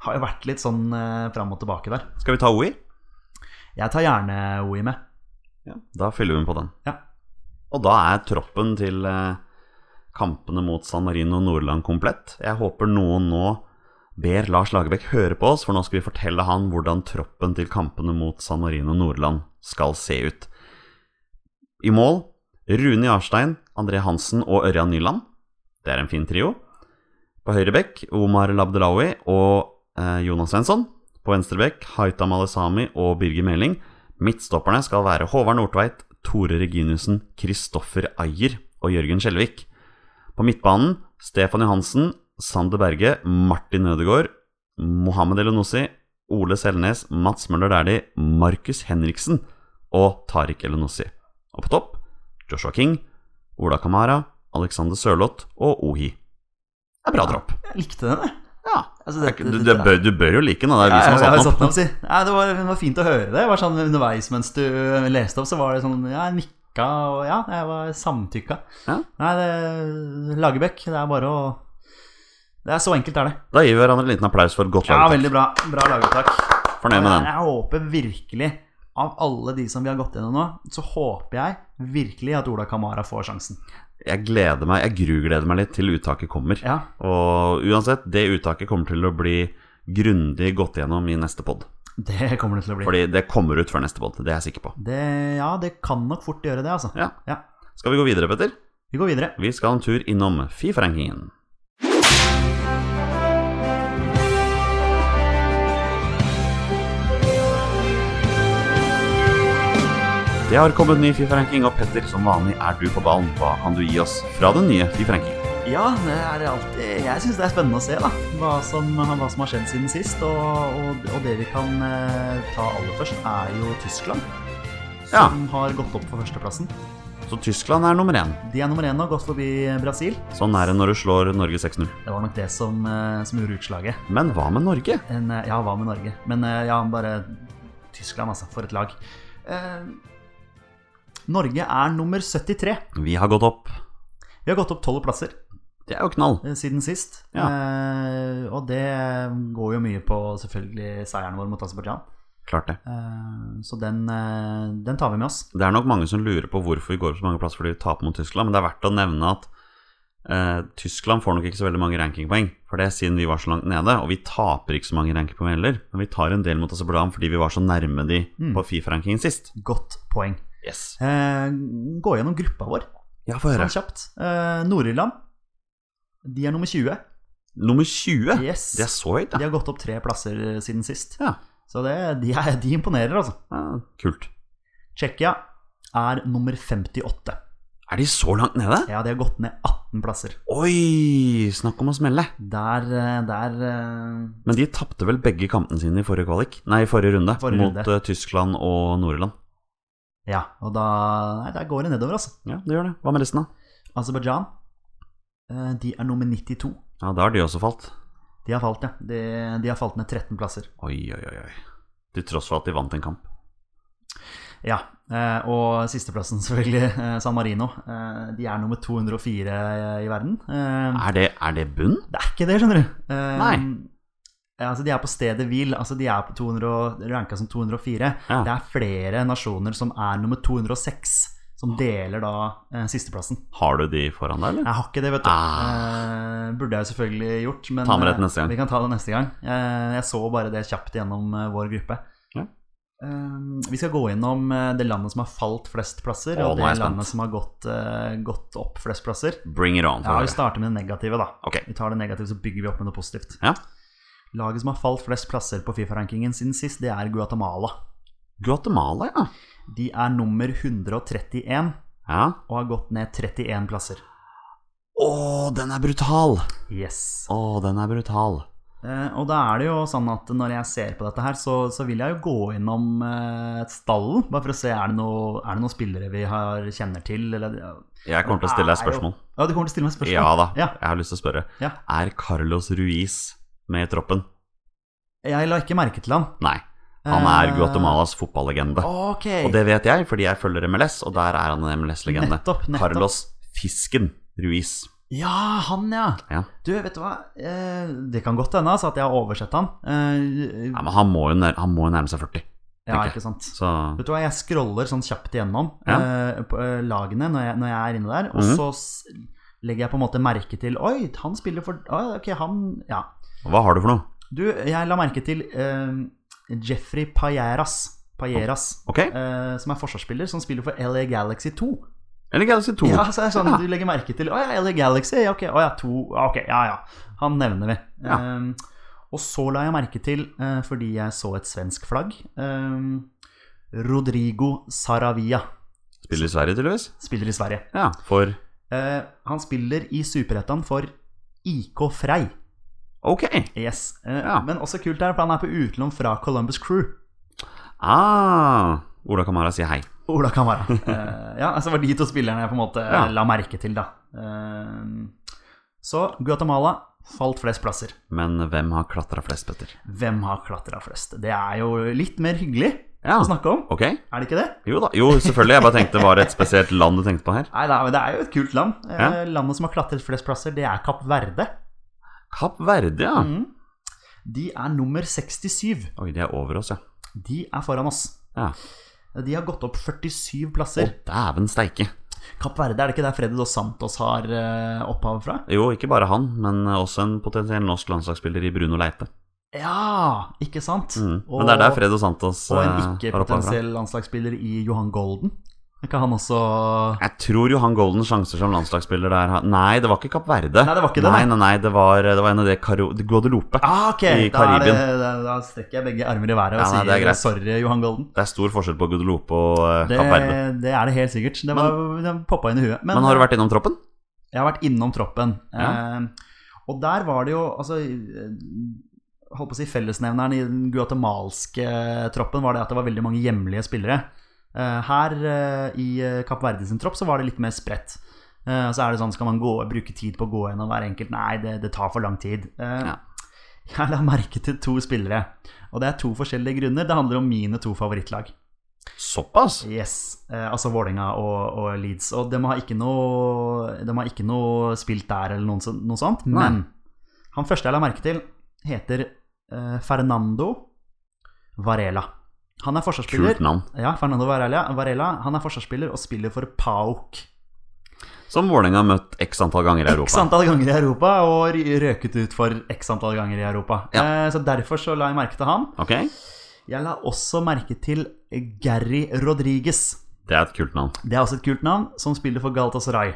har jo vært litt sånn eh, fram og tilbake der. Skal vi ta OI? Jeg tar gjerne OI med. Da fyller vi den på den. Ja. Og da er troppen til eh, kampene mot San Marino og Nordland komplett. Jeg håper noen nå ber Lars Lagerbäck høre på oss, for nå skal vi fortelle han hvordan troppen til kampene mot San Marino og Nordland skal se ut. I mål Rune Jarstein, André Hansen og Ørjan Nyland. Det er en fin trio. På høyre bekk Omar Labdelawi og eh, Jonas Svensson. På venstre bekk Haita Malesami og Birger Meling. Midtstopperne skal være Håvard Nordtveit, Tore Reginussen, Kristoffer Ayer og Jørgen Skjelvik. På midtbanen Stefan Johansen, Sander Berge, Martin Ødegaard, Mohammed Elenossi, Ole Selnes, Mats Møller Dæhlie, Markus Henriksen og Tariq Elenossi. Og på topp Joshua King, Ola Kamara, Alexander Sørloth og Ohi. Det er bra dropp. Jeg likte den, jeg. Ja. Altså, Det er dette- ikke- Du, du, dette- bør, du bør jo like den, da. det er vi som Ja, ja, har ja, satt den opp. si. Nei, det, var, det var fint å høre det. Det var sånn Underveis mens du leste opp, så var det sånn Ja, jeg nikka, og ja, jeg var samtykka. Ja. Nei, det Lagerbäck, det er bare å Det er så enkelt, er det. Da gir vi hverandre en liten applaus for et godt Ja, lag. veldig bra. Bra laguttak. Fornøyd med Jeg, den. jeg håper virkelig, av alle de som vi har gått gjennom nå, så håper jeg virkelig at Ola Kamara får sjansen. Jeg gleder meg, jeg grugleder meg litt til uttaket kommer. Ja, Og uansett, det uttaket kommer til å bli grundig gått gjennom i neste pod. det kommer det til å bli. Fordi det kommer ut før neste pod, det er jeg sikker på. Det, ja, det kan nok fort gjøre det, altså. Ja. Ja. Skal vi gå videre, Petter? Vi går videre. Vi skal en tur innom Fifa-rankingen. Det har kommet ny Fifa-ranking, og Petter, som vanlig er du på ballen. Hva kan du gi oss fra den nye Fifa-rankingen? Ja, det er alltid Jeg syns det er spennende å se da hva som, hva som har skjedd siden sist. Og, og, og det vi kan eh, ta aller først, er jo Tyskland. Ja. Som har gått opp for førsteplassen. Så Tyskland er nummer én. De er nummer én og gått forbi Brasil. Sånn er det når du slår Norge 6-0. Det var nok det som, eh, som gjorde utslaget. Men hva med Norge? En, eh, ja, hva med Norge? Men eh, ja, bare Tyskland, altså. For et lag. Eh, Norge er nummer 73. Vi har gått opp. Vi har gått opp tolv plasser. Det er jo knall. eh, siden sist. Ja. Eh, og det går jo mye på selvfølgelig seieren vår mot Aserbajdsjan. Klart det. Eh, så den, eh, den tar vi med oss. Det er nok mange som lurer på hvorfor vi går opp så mange plasser fordi vi taper mot Tyskland, men det er verdt å nevne at eh, Tyskland får nok ikke så veldig mange rankingpoeng, for det er siden vi var så langt nede, og vi taper ikke så mange rankingpoeng heller, men vi tar en del mot Aserbajdsjan fordi vi var så nærme de Mm. på Fifa-rankingen sist. Godt poeng. Yes. Eh, gå gjennom gruppa vår Ja, få sånn kjapt. Eh, Nord-Irland De er nummer 20. Nummer 20? Yes. Det er så høyt, De ja. har gått opp tre plasser eh, siden sist. Ja. Så det, de, er, de imponerer, altså. Ja, Ah, Kult. Tsjekkia er nummer 58. Er de så langt nede? Ja, de har gått ned 18 plasser. Oi, snakk om å smelle. Der, eh, der eh, Men de tapte vel begge kampene sine i forrige kvalik? Nei, i forrige runde. Forrige mot runde. eh, Tyskland og Nord-Irland. Ja, og da Nei, der går det nedover, altså. Ja, det gjør det. Hva med resten, da? Aserbajdsjan, eh, de er nummer 92. Ja, da har de også falt. De har falt, ja. De, de har falt ned 13 plasser. Oi, oi, oi. oi. Til tross for at de vant en kamp. Ja, eh, og sisteplassen <laughs> selvfølgelig, eh, San Marino. Eh, De er nummer 204 i verden. Eh, Er det, er det bunn? Det er ikke det, skjønner du. Eh, Nei. ja, Altså, de er på stedet hvil. Altså, de er på 200, ranka som 204. Ja. Det er flere nasjoner som er nummer 206, som deler da eh, sisteplassen. Har du de foran deg, eller? Jeg har ikke det, vet du. Eh, burde jeg jo selvfølgelig gjort, men Ah. Ta med det til eh, neste gang. vi kan ta det neste gang. Eh, jeg så bare det kjapt gjennom eh, vår gruppe. Ja. Eh, vi skal gå innom eh, det landet som har falt flest plasser, Å, og nå er det jeg spent. landet som har gått, eh, gått opp flest plasser. Bring it on. Ja, får Vi dere. starter med det negative, da. Ok. Vi tar det negative, så bygger vi opp med noe positivt. Ja. Laget som har falt flest plasser på Fifa-rankingen siden sist, det er Guatemala. Guatemala, ja. De er nummer 131 Ja. og har gått ned 31 plasser. Å, den er brutal! Yes. Å, den er brutal. Eh, og da er det jo sånn at når jeg ser på dette her, så, så vil jeg jo gå innom eh, stallen. Bare for å se er det, noe, er det noen spillere vi har, kjenner til, eller Jeg kommer til å stille deg Det er jo- spørsmål. Ja, du kommer til å stille meg spørsmål? Ja da, Ja. jeg har lyst til å spørre. Ja. Er Carlos Ruiz med i troppen? Jeg la ikke merke til han. Nei. Han er Eh, Guatemalas fotballegende. Ok. Og det vet jeg, fordi jeg følger MLS, og der er han en MLS-legende. Nettopp, <laughs> nettopp. Carlos Fisken Ruiz. Ja, han, ja. Ja. Du, vet du hva? Eh, det kan godt hende altså, at jeg har oversett han. Eh, Ja, men han må, jo nær, han må jo nærme seg 40, ja, tenker jeg. ikke sant. så Vet du hva, jeg scroller sånn kjapt igjennom Ja. eh, på, eh, lagene når jeg, når jeg er inne der, og Mhm. så s- legger jeg på en måte merke til Oi, han spiller for Oi, Ok, han Ja. hva har du for noe? Du, jeg la merke til eh, Jeffrey Payeras, Payeras Ok? eh, som er forsvarsspiller, som spiller for LA Galaxy 2. Eller Galaxy 2? Ja, så er det sånn, Ja. Du legger merke til Å ja, LA Galaxy, ja, ok, å, ja, to, ja, ok, ja, ja. Han nevner vi. Ja. Eh, og så la jeg merke til, eh, fordi jeg så et svensk flagg eh, Rodrigo Saravia Spiller i Sverige, tydeligvis? spiller i Sverige. Ja, for Eh, han spiller i Superettan for IK Frei. Ok. Yes. Eh, Ja. Men også kult er at han er på utlån fra Columbus Crew. Ah, Ola Kamara sier hei. Ola <laughs> Kamara. Eh, ja, altså det var de to spillerne jeg på en måte Ja. la merke til, da. Eh, så Guatemala falt flest plasser. Men hvem har klatra flest, Petter? Hvem har klatra flest? Det er jo litt mer hyggelig Ja, å snakke om, ok. er det ikke det? Jo da. Jo, selvfølgelig. Jeg bare tenkte var det et spesielt land du tenkte på her. Nei, det er, men det er jo et kult land. Eh, Ja. Landet som har klatret flest plasser, det er Kapp Verde. Kapp Verde, ja. Mhm. De er nummer 67. Oi, de er over oss, ja. De er foran oss. ja. De har gått opp 47 Å, plasser. dæven steike. Kapp Verde, er det ikke der Freddy Dos Santos har eh, opphavet fra? Jo, ikke bare han, men også en potensiell norsk landslagsspiller i Bruno Leite. Ja, ikke sant? Mm. Men det er der Fredo Santos og eh, en har opphavet fra. ikke-potensiell landslagsspiller i Johan Golden. Er ikke han også Jeg tror Johan Golden sjanser som landslagsspiller der har- Nei, det var ikke Kapp Verde. Nei, det var ikke det, Nei, da. nei, nei, det var, det var en av de Karo... Guadeloupe. Ah, ok! I da, er det, Karibien. da, da strekker jeg begge armer i været og Ja, nei, det er sier greit. sorry, Johan Golden. Det er stor forskjell på Guadeloupe og eh, Det, Kapp Verde. det er det helt sikkert. Det var, den poppa inn i huet. Men har du vært innom troppen? Jeg har vært innom troppen. Ja. Eh, og der var det jo altså, eh, holdt på å si Fellesnevneren i den guatemalske troppen var det at det var veldig mange hjemlige spillere. Eh, her eh, i eh, Kapp Verde sin tropp så var det litt mer spredt. Eh, så er det sånn, Skal man gå, bruke tid på å gå gjennom hver enkelt? Nei, det, det tar for lang tid. Eh, Ja. <laughs> Jeg la merke til to spillere, og det er to forskjellige grunner. Det handler om mine to favorittlag. Såpass? Yes, eh, altså Vålinga og, og Leeds. Og de har ikke noe, de har ikke noe spilt der eller noe, sånt- noe sånt. Nei. Men han første jeg la merke til, heter eh, Fernando Varela. Han er forsvarsspiller. Kult navn. Ja, Fernando Varela, Varela. Han er forsvarsspiller og spiller for Pauk. Som Vålerenga har møtt x antall ganger i Europa. X antall ganger i Europa, og ry- røket ut for x antall ganger i Europa. Eh, så derfor så la jeg merke til han. Ok? Jeg la også merke til Gary Rodriguez. Det er et kult navn. Det er også et kult navn, som spiller for Galatasaray.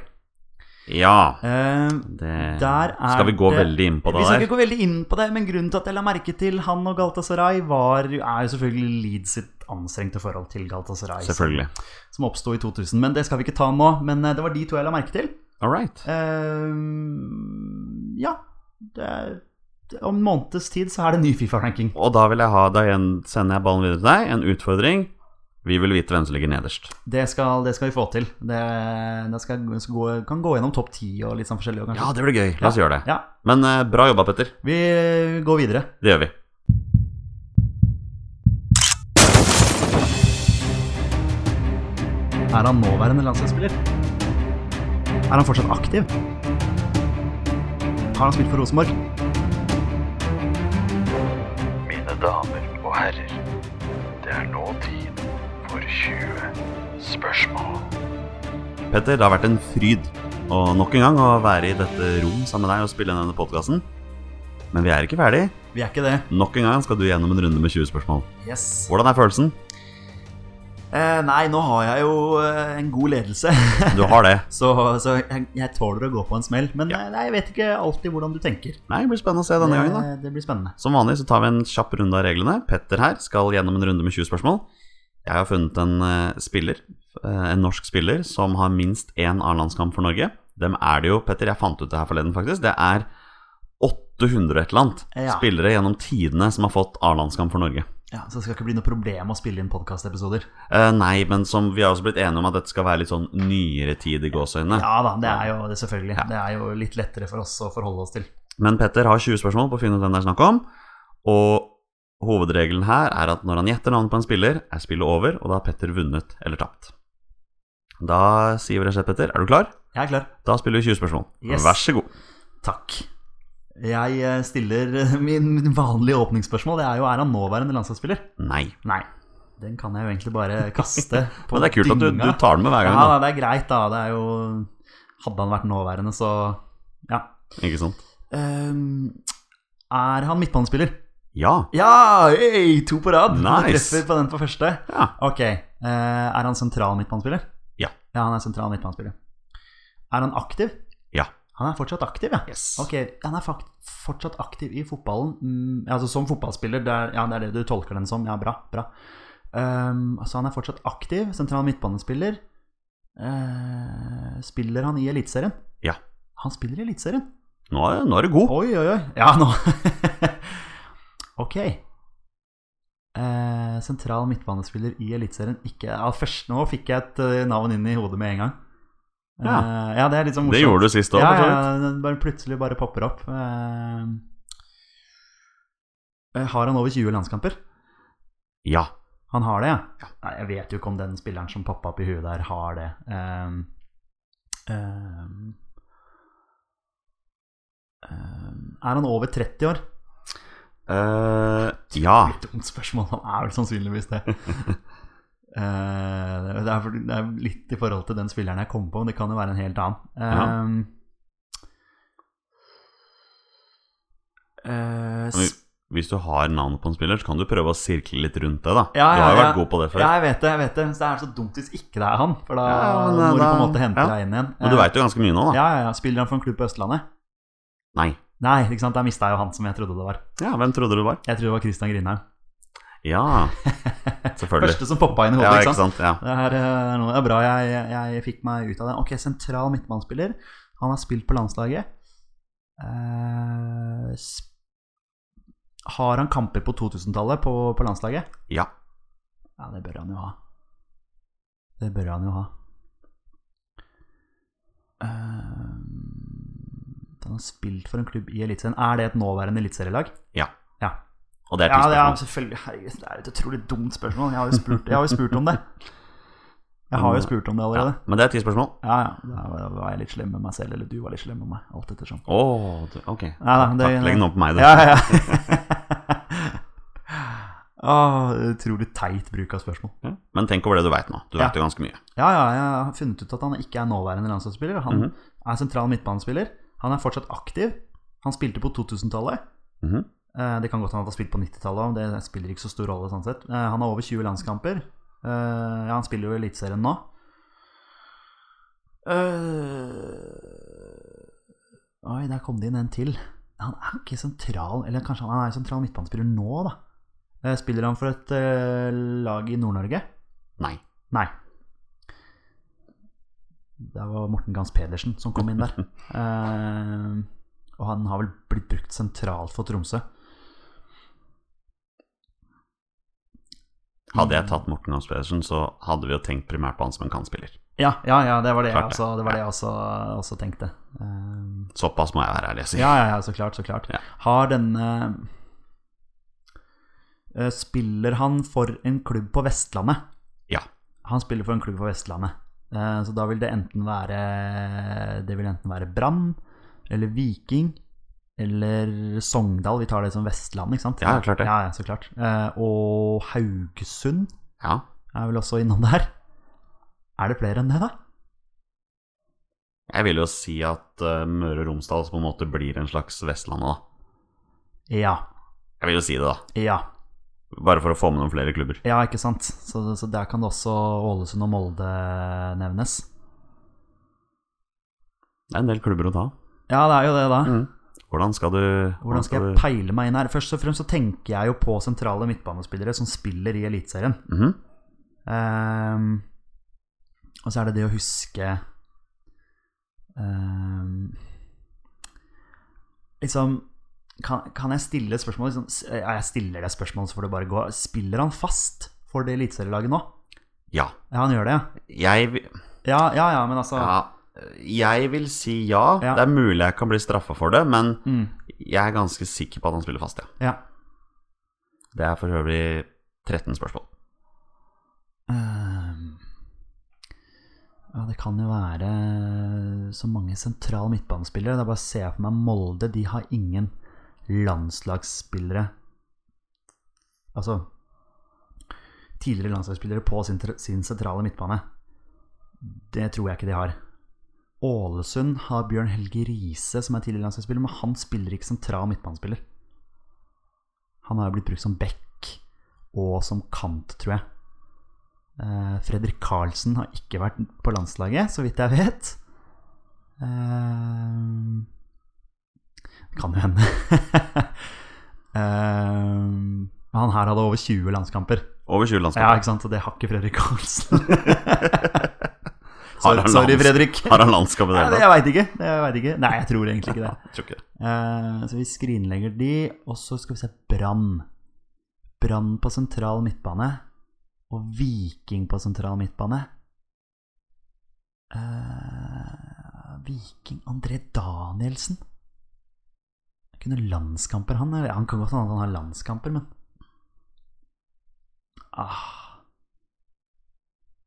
Ja. Eh, Det, Der er skal vi gå det- veldig inn på Vi det skal der? ikke gå veldig inn på det, men grunnen til at jeg la merke til han og Galtasaray, var, er jo selvfølgelig Leeds sitt anstrengte forhold til Galtasaray, som, Selvfølgelig. som oppsto i 2000. Men det skal vi ikke ta nå. Men eh, det var de to jeg la merke til. All right. Eh, ja. Det er, det- om en måneds tid så er det ny Fifa-ranking. Og da vil jeg ha da igjen sender jeg ballen videre til deg. En utfordring. Vi vil vite hvem som ligger nederst. Det skal, det skal vi få til. Det, det skal, skal gå, kan gå gjennom topp ti og litt sånn forskjellig. og Ja, kanskje- det blir gøy. La oss gjøre det. ja. Men eh, bra jobba, Petter. Vi går videre. Det gjør vi. Er han nåværende landslagsspiller? Er han fortsatt aktiv? Har han spilt for Rosenborg? Mine damer og herrer, det er nå tid for 20 spørsmål. Petter, det har vært en fryd å nok en gang å være i dette rom sammen med deg og spille denne podkasten. Men vi er ikke ferdig. Vi er ikke det. Nok en gang skal du gjennom en runde med 20 spørsmål. Yes. Hvordan er følelsen? Eh, nei, nå har jeg jo eh, en god ledelse, <laughs> Du har det. så, så jeg, jeg tåler å gå på en smell. Men eh, nei, jeg vet ikke alltid hvordan du tenker. Eh, Nei, det blir spennende å se denne gangen, da. det, det blir spennende. Som vanlig så tar vi en kjapp runde av reglene. Petter her skal gjennom en runde med 20 spørsmål. Jeg har funnet en eh, spiller, eh, en norsk spiller, som har minst én A-landskamp for Norge. Dem er det jo, Petter, jeg fant ut det her forleden, faktisk. Det er 800 et eller annet Ja. spillere gjennom tidene som har fått A-landskamp for Norge. Ja, så det skal ikke bli noe problem å spille inn podkastepisoder. Eh, nei, men som vi har også blitt enige om at dette skal være litt sånn nyere tid i gåseøynene. Ja da, det er jo det, selvfølgelig. Det er jo litt lettere for oss å forholde oss til. Men Petter har 20 spørsmål på å finne ut hvem det er snakk om. Og hovedregelen her er at når han gjetter navnet på en spiller, er spillet over, og da har Petter vunnet eller tapt. Da sier vi rett og slett, Petter, er du klar? Jeg er klar. Da spiller vi 20 spørsmål. Yes. Vær så god. Takk. Jeg eh, stiller <laughs> eh, min min vanlige åpningsspørsmål. Det er jo er han nåværende landslagsspiller? Nei. Nei. Den kan jeg jo egentlig bare <laughs> kaste på Men det er kult at du, du tar den med hver ja, gang, da, da. det er greit, da. Det er jo Hadde han vært nåværende, så ja. Ikke sant? Ehm, er han midtbanespiller? Ja. Ja! Hey, to på rad. Han Nice. Treffer på den på første. Ja. Ok. eh, er han sentral midtbanespiller? Ja. Ja, han er sentral midtbanespiller. Er han aktiv? Ja. Han er fortsatt aktiv, ja. Yes. Ok, han er fakt fortsatt aktiv i fotballen. Mm, altså Som fotballspiller, det er, ja, det er det du tolker den som. Ja, bra. bra. Ehm, altså Han er fortsatt aktiv, sentral midtbanespiller. Eh, spiller han i Eliteserien? Ja. Han spiller i Eliteserien. Nå er, nå er du god. Oi, oi, oi. Ja, nå <laughs> Ok. Eh, sentral midtbanespiller i Eliteserien ikke ja, Først nå fikk jeg et eh, navn inn i hodet med en gang. Eh, Ja. ja, det er litt sånn morsomt. Det gjorde du sist òg, Ja, for så ja, vidt. den bare plutselig bare popper opp. Eh, eh, har han over 20 landskamper? Ja. Han har det, ja? Nei, jeg vet jo ikke om den spilleren som poppa opp i huet der, har det. Ehm, ehm, ehm, er han over 30 år? Eh, ja. Litt dumt spørsmål, han er vel <laughs> sannsynligvis det. Eh, det, er, for- det er litt i forhold til den spilleren jeg kom på, men det kan jo være en helt annen. Ehm, eh, Men sp- Hvis du har navnet på en spiller, så kan du prøve å sirkle litt rundt det, da. Ja, Du har jo ja, vært ja. god på det før. ja, jeg vet det, jeg vet det. Så det er så dumt hvis ikke det er han, for da Ja, men, eh, må du på en da- måte hente ja. deg inn igjen. Men du Eh, veit jo ganske mye nå, da. Ja, ja, ja. Spiller han for en klubb på Østlandet? Nei. Nei, ikke sant? der mista jeg jo han som jeg trodde det var. Ja, hvem trodde du det var? Jeg trodde det var Christian Grindheim. <laughs> Ja, selvfølgelig. Første som poppa inn i hodet. ja, ikke sant? Ja. Det er, eh, noe, det er bra jeg, jeg, jeg fikk meg ut av det. Ok, sentral midtbanespiller. Han har spilt på landslaget. Eh, sp har han kamper på 2000-tallet på, på landslaget? ja. Ja, det bør han jo ha. Det bør han jo ha. Eh, han har spilt for en klubb i Eliteserien. Er det et nåværende eliteserielag? Ja. Ja. Og det er Ja, ti det er spørsmål. selvfølgelig Herregud, det er et utrolig dumt spørsmål. Jeg har jo spurt, jeg har jo spurt om det. Jeg har jo spurt om det Mm. Ja, allerede. men det er ti spørsmål. Ja, ja. Da var jeg litt slem med meg selv, eller du var litt slem med meg. Alt ettersom. Å, du, ok. Nei, nei, det- Takk, legg den opp på meg, du. Ja, ja. <laughs> Åh, utrolig teit bruk av spørsmål. Ja. Men tenk over det du veit nå. Du Ja. veit jo ganske mye. Ja, ja, jeg har funnet ut at han ikke er nåværende landslagsspiller. Han Mhm. er sentral midtbanespiller. Han er fortsatt aktiv. Han spilte på 2000-tallet. Mhm. Eh, Det kan godt hende at han har spilt på 90-tallet, men det spiller ikke så stor rolle. sånn sett. Eh, Han har over 20 landskamper. Eh, Ja, han spiller jo i Eliteserien nå. Eh, Oi, der kom det inn en til. Han er ikke sentral Eller kanskje han er sentral midtbanespiller nå, da. Eh, Spiller han for et eh, lag i Nord-Norge? Nei. Nei. Det var Morten Gans Pedersen som kom inn der. Eh, og han har vel blitt brukt sentralt for Tromsø. <laughs> Hadde jeg tatt Morten Gams Pedersen, så hadde vi jo tenkt primært på han som en kantspiller. Ja, ja, ja det var det jeg Klart det. også, det var det jeg også, også tenkte. Eh, Såpass må jeg være ærlig og si. Ja, ja, ja, så klart, så klart. Ja. Har denne eh, Spiller han for en klubb på Vestlandet? Ja. Han spiller for en klubb på Vestlandet. Eh, Så da vil det enten være Det vil enten være Brann eller Viking eller Sogndal. Vi tar det som Vestland, ikke sant? Ja, klart det. Ja, ja, så klart. Eh, Og Haugesund Ja. er vel også innom der. Er det flere enn det, da? Jeg vil jo si at eh, Møre og Romsdal på en måte blir en slags Vestlandet, da. Ja. Jeg vil jo si det, da. Ja. Bare for å få med noen flere klubber. Ja, ikke sant. Så, så der kan det også Ålesund og Molde nevnes. Det er en del klubber å ta. Ja, det er jo det, da. Hvordan skal du Hvordan skal jeg du- peile meg inn her? Først og fremst så tenker jeg jo på sentrale midtbanespillere som spiller i Eliteserien. Mhm. Ehm, og så er det det å huske ehm, Liksom kan, kan jeg stille et spørsmål? Liksom, s- ja, jeg stiller deg spørsmål, så får det bare gå. Spiller han fast for det eliteserielaget nå? Ja. Ja, han gjør det, ja. Jeg vil Ja, ja, ja men altså Ja, jeg vil si ja. Ja. Det er mulig jeg kan bli straffa for det, men Mm, jeg er ganske sikker på at han spiller fast, ja. ja. Det er for øvrig 13 spørsmål. Ehm, Ja, det kan jo være så mange sentrale midtbanespillere. Det er bare å se for meg Molde. De har ingen landslagsspillere Altså tidligere landslagsspillere på sin, tr- sin sentrale midtbane. Det tror jeg ikke de har. Ålesund har Bjørn Helge Riise, som er tidligere landslagsspiller, men han spiller ikke sentral midtbanespiller. Han har jo blitt brukt som back og som kant, tror jeg. Eh, Fredrik Karlsen har ikke vært på landslaget, så vidt jeg vet. Eh, Det kan jo hende. <laughs> Eh, Men han her hadde over 20 landskamper. Over 20 Ja, landskamper. ikke sant? Og det har ikke <laughs> Fredrik Karlsen. Har han Sorry, lands- Fredrik. Har han landskap i det Nei, hele det- tatt? jeg veit ikke. Det- Jeg vet ikke. Nei, jeg tror egentlig ikke det. Jeg tror ikke det. Eh, så vi skrinlegger de, og så skal vi se Brann. Brann på sentral midtbane og Viking på sentral midtbane. Eh, Viking André Danielsen. Jeg kunne landskamper, han. eller? Han kan godt hende at han har landskamper, men ah.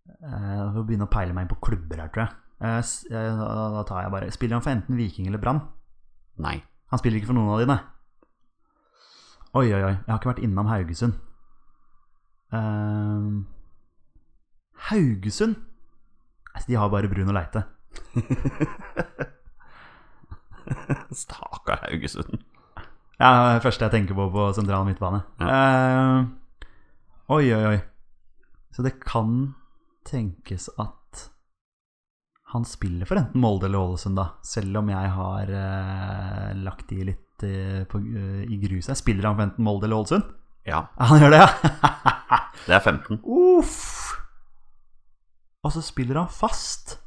Eh, Jeg får begynne å peile meg inn på klubber her, tror jeg. Eh, s- eh, Da da tar jeg bare Spiller han for enten Viking eller Brann? Nei. Han spiller ikke for noen av de, nei. Oi, oi, oi. Jeg har ikke vært innom Haugesund. Ehm, Haugesund? Altså, de har bare Bruno Leite. Stakkar Haugesund. Ja, det er det første jeg tenker på på sentral midtbane. Ehm, oi, oi, oi. Så det kan tenkes at han spiller for enten Molde eller Ålesund, da. Selv om jeg har eh, lagt de litt eh, på, eh, i gruset. Spiller han for enten Molde eller Ålesund? Ja, Ja, han gjør det, ja. <laughs> det er 15. Uff. Og så spiller han fast.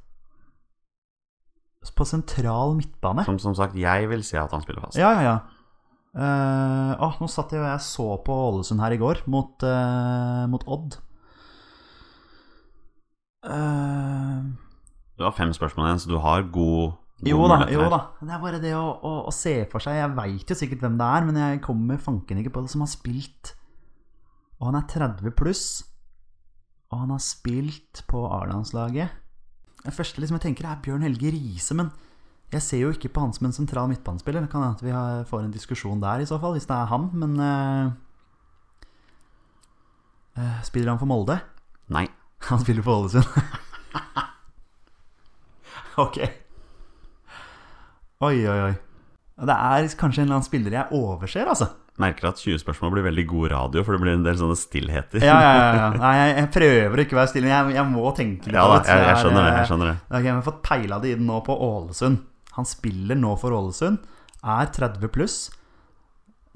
På sentral midtbane. Som, som sagt, jeg vil si at han spiller fast. Ja, ja, ja. Eh, å, nå satt jeg og jeg så på Ålesund her i går, mot, eh, mot Odd. Eh, Du har fem spørsmål igjen, så du har god, god jo da, mulighet jo her. da. Det er bare det å, å, å se for seg Jeg veit jo sikkert hvem det er, men jeg kommer fanken ikke på det som har spilt Og han er 30 pluss, og han har spilt på A-landslaget. Det første liksom jeg tenker, er Bjørn Helge Riise, men jeg ser jo ikke på han som en sentral midtbanespiller. Det kan hende at vi har, får en diskusjon der, i så fall, hvis det er han, men eh, eh, Spiller han for Molde? Nei. Han spiller for Ålesund. <laughs> ok. Oi, oi, oi. Det er kanskje en eller annen spiller jeg overser, altså. Merker at 20 spørsmål blir veldig god radio, for det blir en del sånne stillheter. Ja, ja, ja. ja. <laughs> Nei, jeg, jeg prøver å ikke være stille, men jeg, jeg må tenke litt. <laughs> Ja da, på det, så jeg, jeg er, skjønner det. eh, jeg skjønner det Ok, Vi har fått peila det inn nå på Ålesund. Han spiller nå for Ålesund. Er 30 pluss.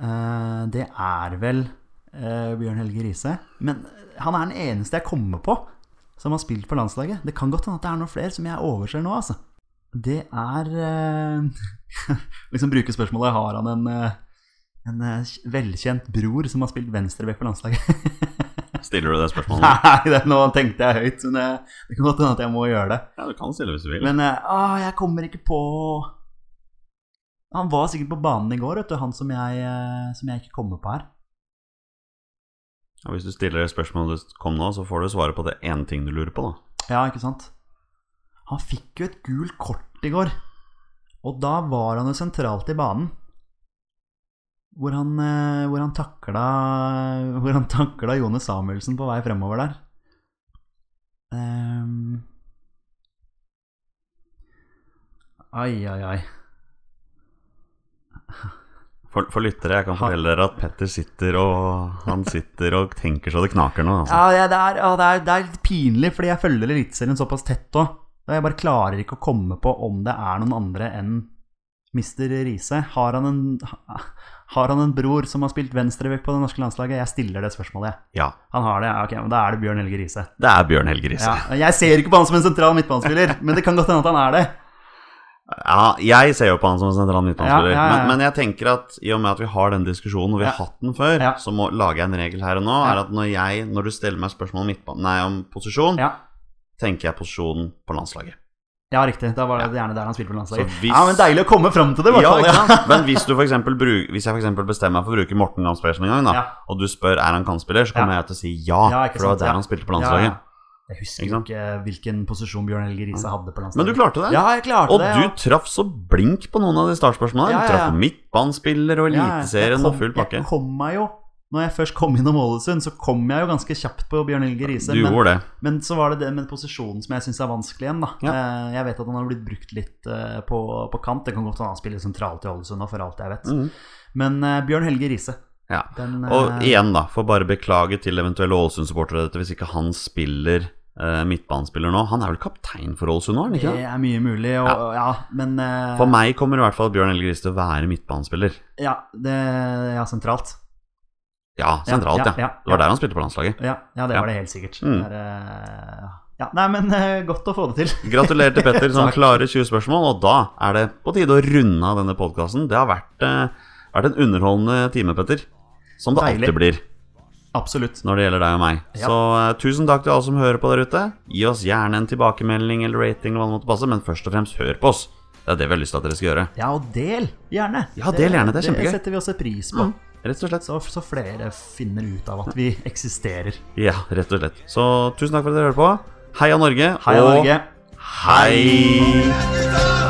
Eh, det er vel eh, Bjørn Helge Riise. Men eh, han er den eneste jeg kommer på som har spilt for landslaget. Det kan godt hende at det er noen flere som jeg overser nå, altså. Det er eh, <laughs> Liksom bruke spørsmålet Har han en, eh, en eh, velkjent bror som har spilt venstreback for landslaget? <laughs> Stiller du det spørsmålet? Nei, det, nå tenkte jeg høyt, men det, det kan godt hende at jeg må gjøre det. Ja, du kan stille hvis du vil. Men eh, ah, jeg kommer ikke på Han var sikkert på banen i går, vet du, han som jeg, eh, som jeg ikke kommer på her. Og hvis du stiller det spørsmålet du kom nå, så får du svaret på det ene ting du lurer på, da. Ja, ikke sant? Han fikk jo et gult kort i går, og da var han jo sentralt i banen. Hvor han, eh, hvor han takla Hvor han takla Jone Samuelsen på vei fremover der. Ehm. Ai, ai, ai. For, for lyttere, jeg kan fortelle dere at Petter sitter og Han sitter og tenker så det knaker nå, altså. Ja, ja, det, er, ja det, er, det er litt pinlig, fordi jeg følger Eliteserien såpass tett òg. Jeg bare klarer ikke å komme på om det er noen andre enn Mr. Riise. Har, han en- har han en bror som har spilt venstrevekk på det norske landslaget? Jeg stiller det spørsmålet, jeg. Ja. Han har det, ja, ok, men da er det Bjørn Helge Riise. Det er Bjørn Helge Riise. Ja, jeg ser ikke på han som en sentral midtbanespiller, men det kan godt hende at han er det. Ja, jeg ser jo på han som en sentral midtbanespiller. Ja, ja, ja, ja. Men, men jeg tenker at i og med at vi har den diskusjonen, og vi har Ja. hatt den før, Ja. så må, lager jeg en regel her og nå. Er at når, jeg, når du stiller meg spørsmål om, midtban- nei, om posisjon, Ja, tenker jeg posisjonen på landslaget. ja riktig. Da var det gjerne der han spilte på landslaget. Så hvis- Ja, men Deilig å komme fram til det, i hvert Ja, fall. ikke Ja, sant? <laughs> Men hvis, du for eksempel bruk, hvis jeg for eksempel bestemmer meg for å bruke Morten Gamspersen en gang, da, Ja. og du spør er han kantspiller, så kommer Ja. jeg til å si ja, Ja, ikke for det sant, var der ja. han spilte på Ja, landslaget. ja. Jeg husker Ikke jo sant? ikke hvilken posisjon Bjørn Helge Riise hadde på landslaget. Men du klarte det. Ja, jeg klarte Og det. du traff så blink på noen av de startspørsmålene. Ja, Du ja, ja. traff på midtbanespiller og Ja, ja. Jeg Eliteserien kom- og full pakke. Jeg kom meg jo Når jeg først kom innom Ålesund, så kom jeg jo ganske kjapt på Bjørn Helge Riise. Du Men, gjorde det. men så var det det med posisjonen som jeg syns er vanskelig igjen, da. Eh, Jeg vet at han har blitt brukt litt eh, på, på kant. Det kan godt hende han spiller sentralt i Ålesund, og for alt jeg vet. Mhm. Men eh, Bjørn Helge Riise, Ja. den Og eh, igjen, da, får bare beklage til eventuelle Ålesund-supportere dette hvis ikke han spiller eh, midtbanespiller nå. Han er vel kaptein for Ålesund nå, er han ikke det det? er mye mulig, og ja, men eh, For meg kommer i hvert fall Bjørn Helge Riise til å være midtbanespiller. ja, det, ja, sentralt. Ja, sentralt, ja, ja. ja, Det ja. var der han spilte på landslaget. Ja, ja det Ja. var det helt sikkert. Mm. Det er, eh, ja. Nei, men eh, godt å få det til. Gratulerer til Petter som Takk. klarer 20 spørsmål, og da er det på tide å runde av denne podkasten. Det har vært, eh, vært en underholdende time, Petter. Som det Deilig. alltid blir Absolutt. når det gjelder deg og meg. Ja. Så eh, tusen takk til alle som hører på der ute. Gi oss gjerne en tilbakemelding eller rating, eller hva det måtte passe, men først og fremst hør på oss. Det er det vi har lyst til at dere skal gjøre. Ja, og del gjerne. Ja, del gjerne, det er kjempegøy. Mm. Det setter vi også pris på. Rett og slett. Så, så flere finner ut av at vi eksisterer. Ja, rett og slett. Så tusen takk for at dere hører på. Heia Norge. Heia og Norge! Hei! Dette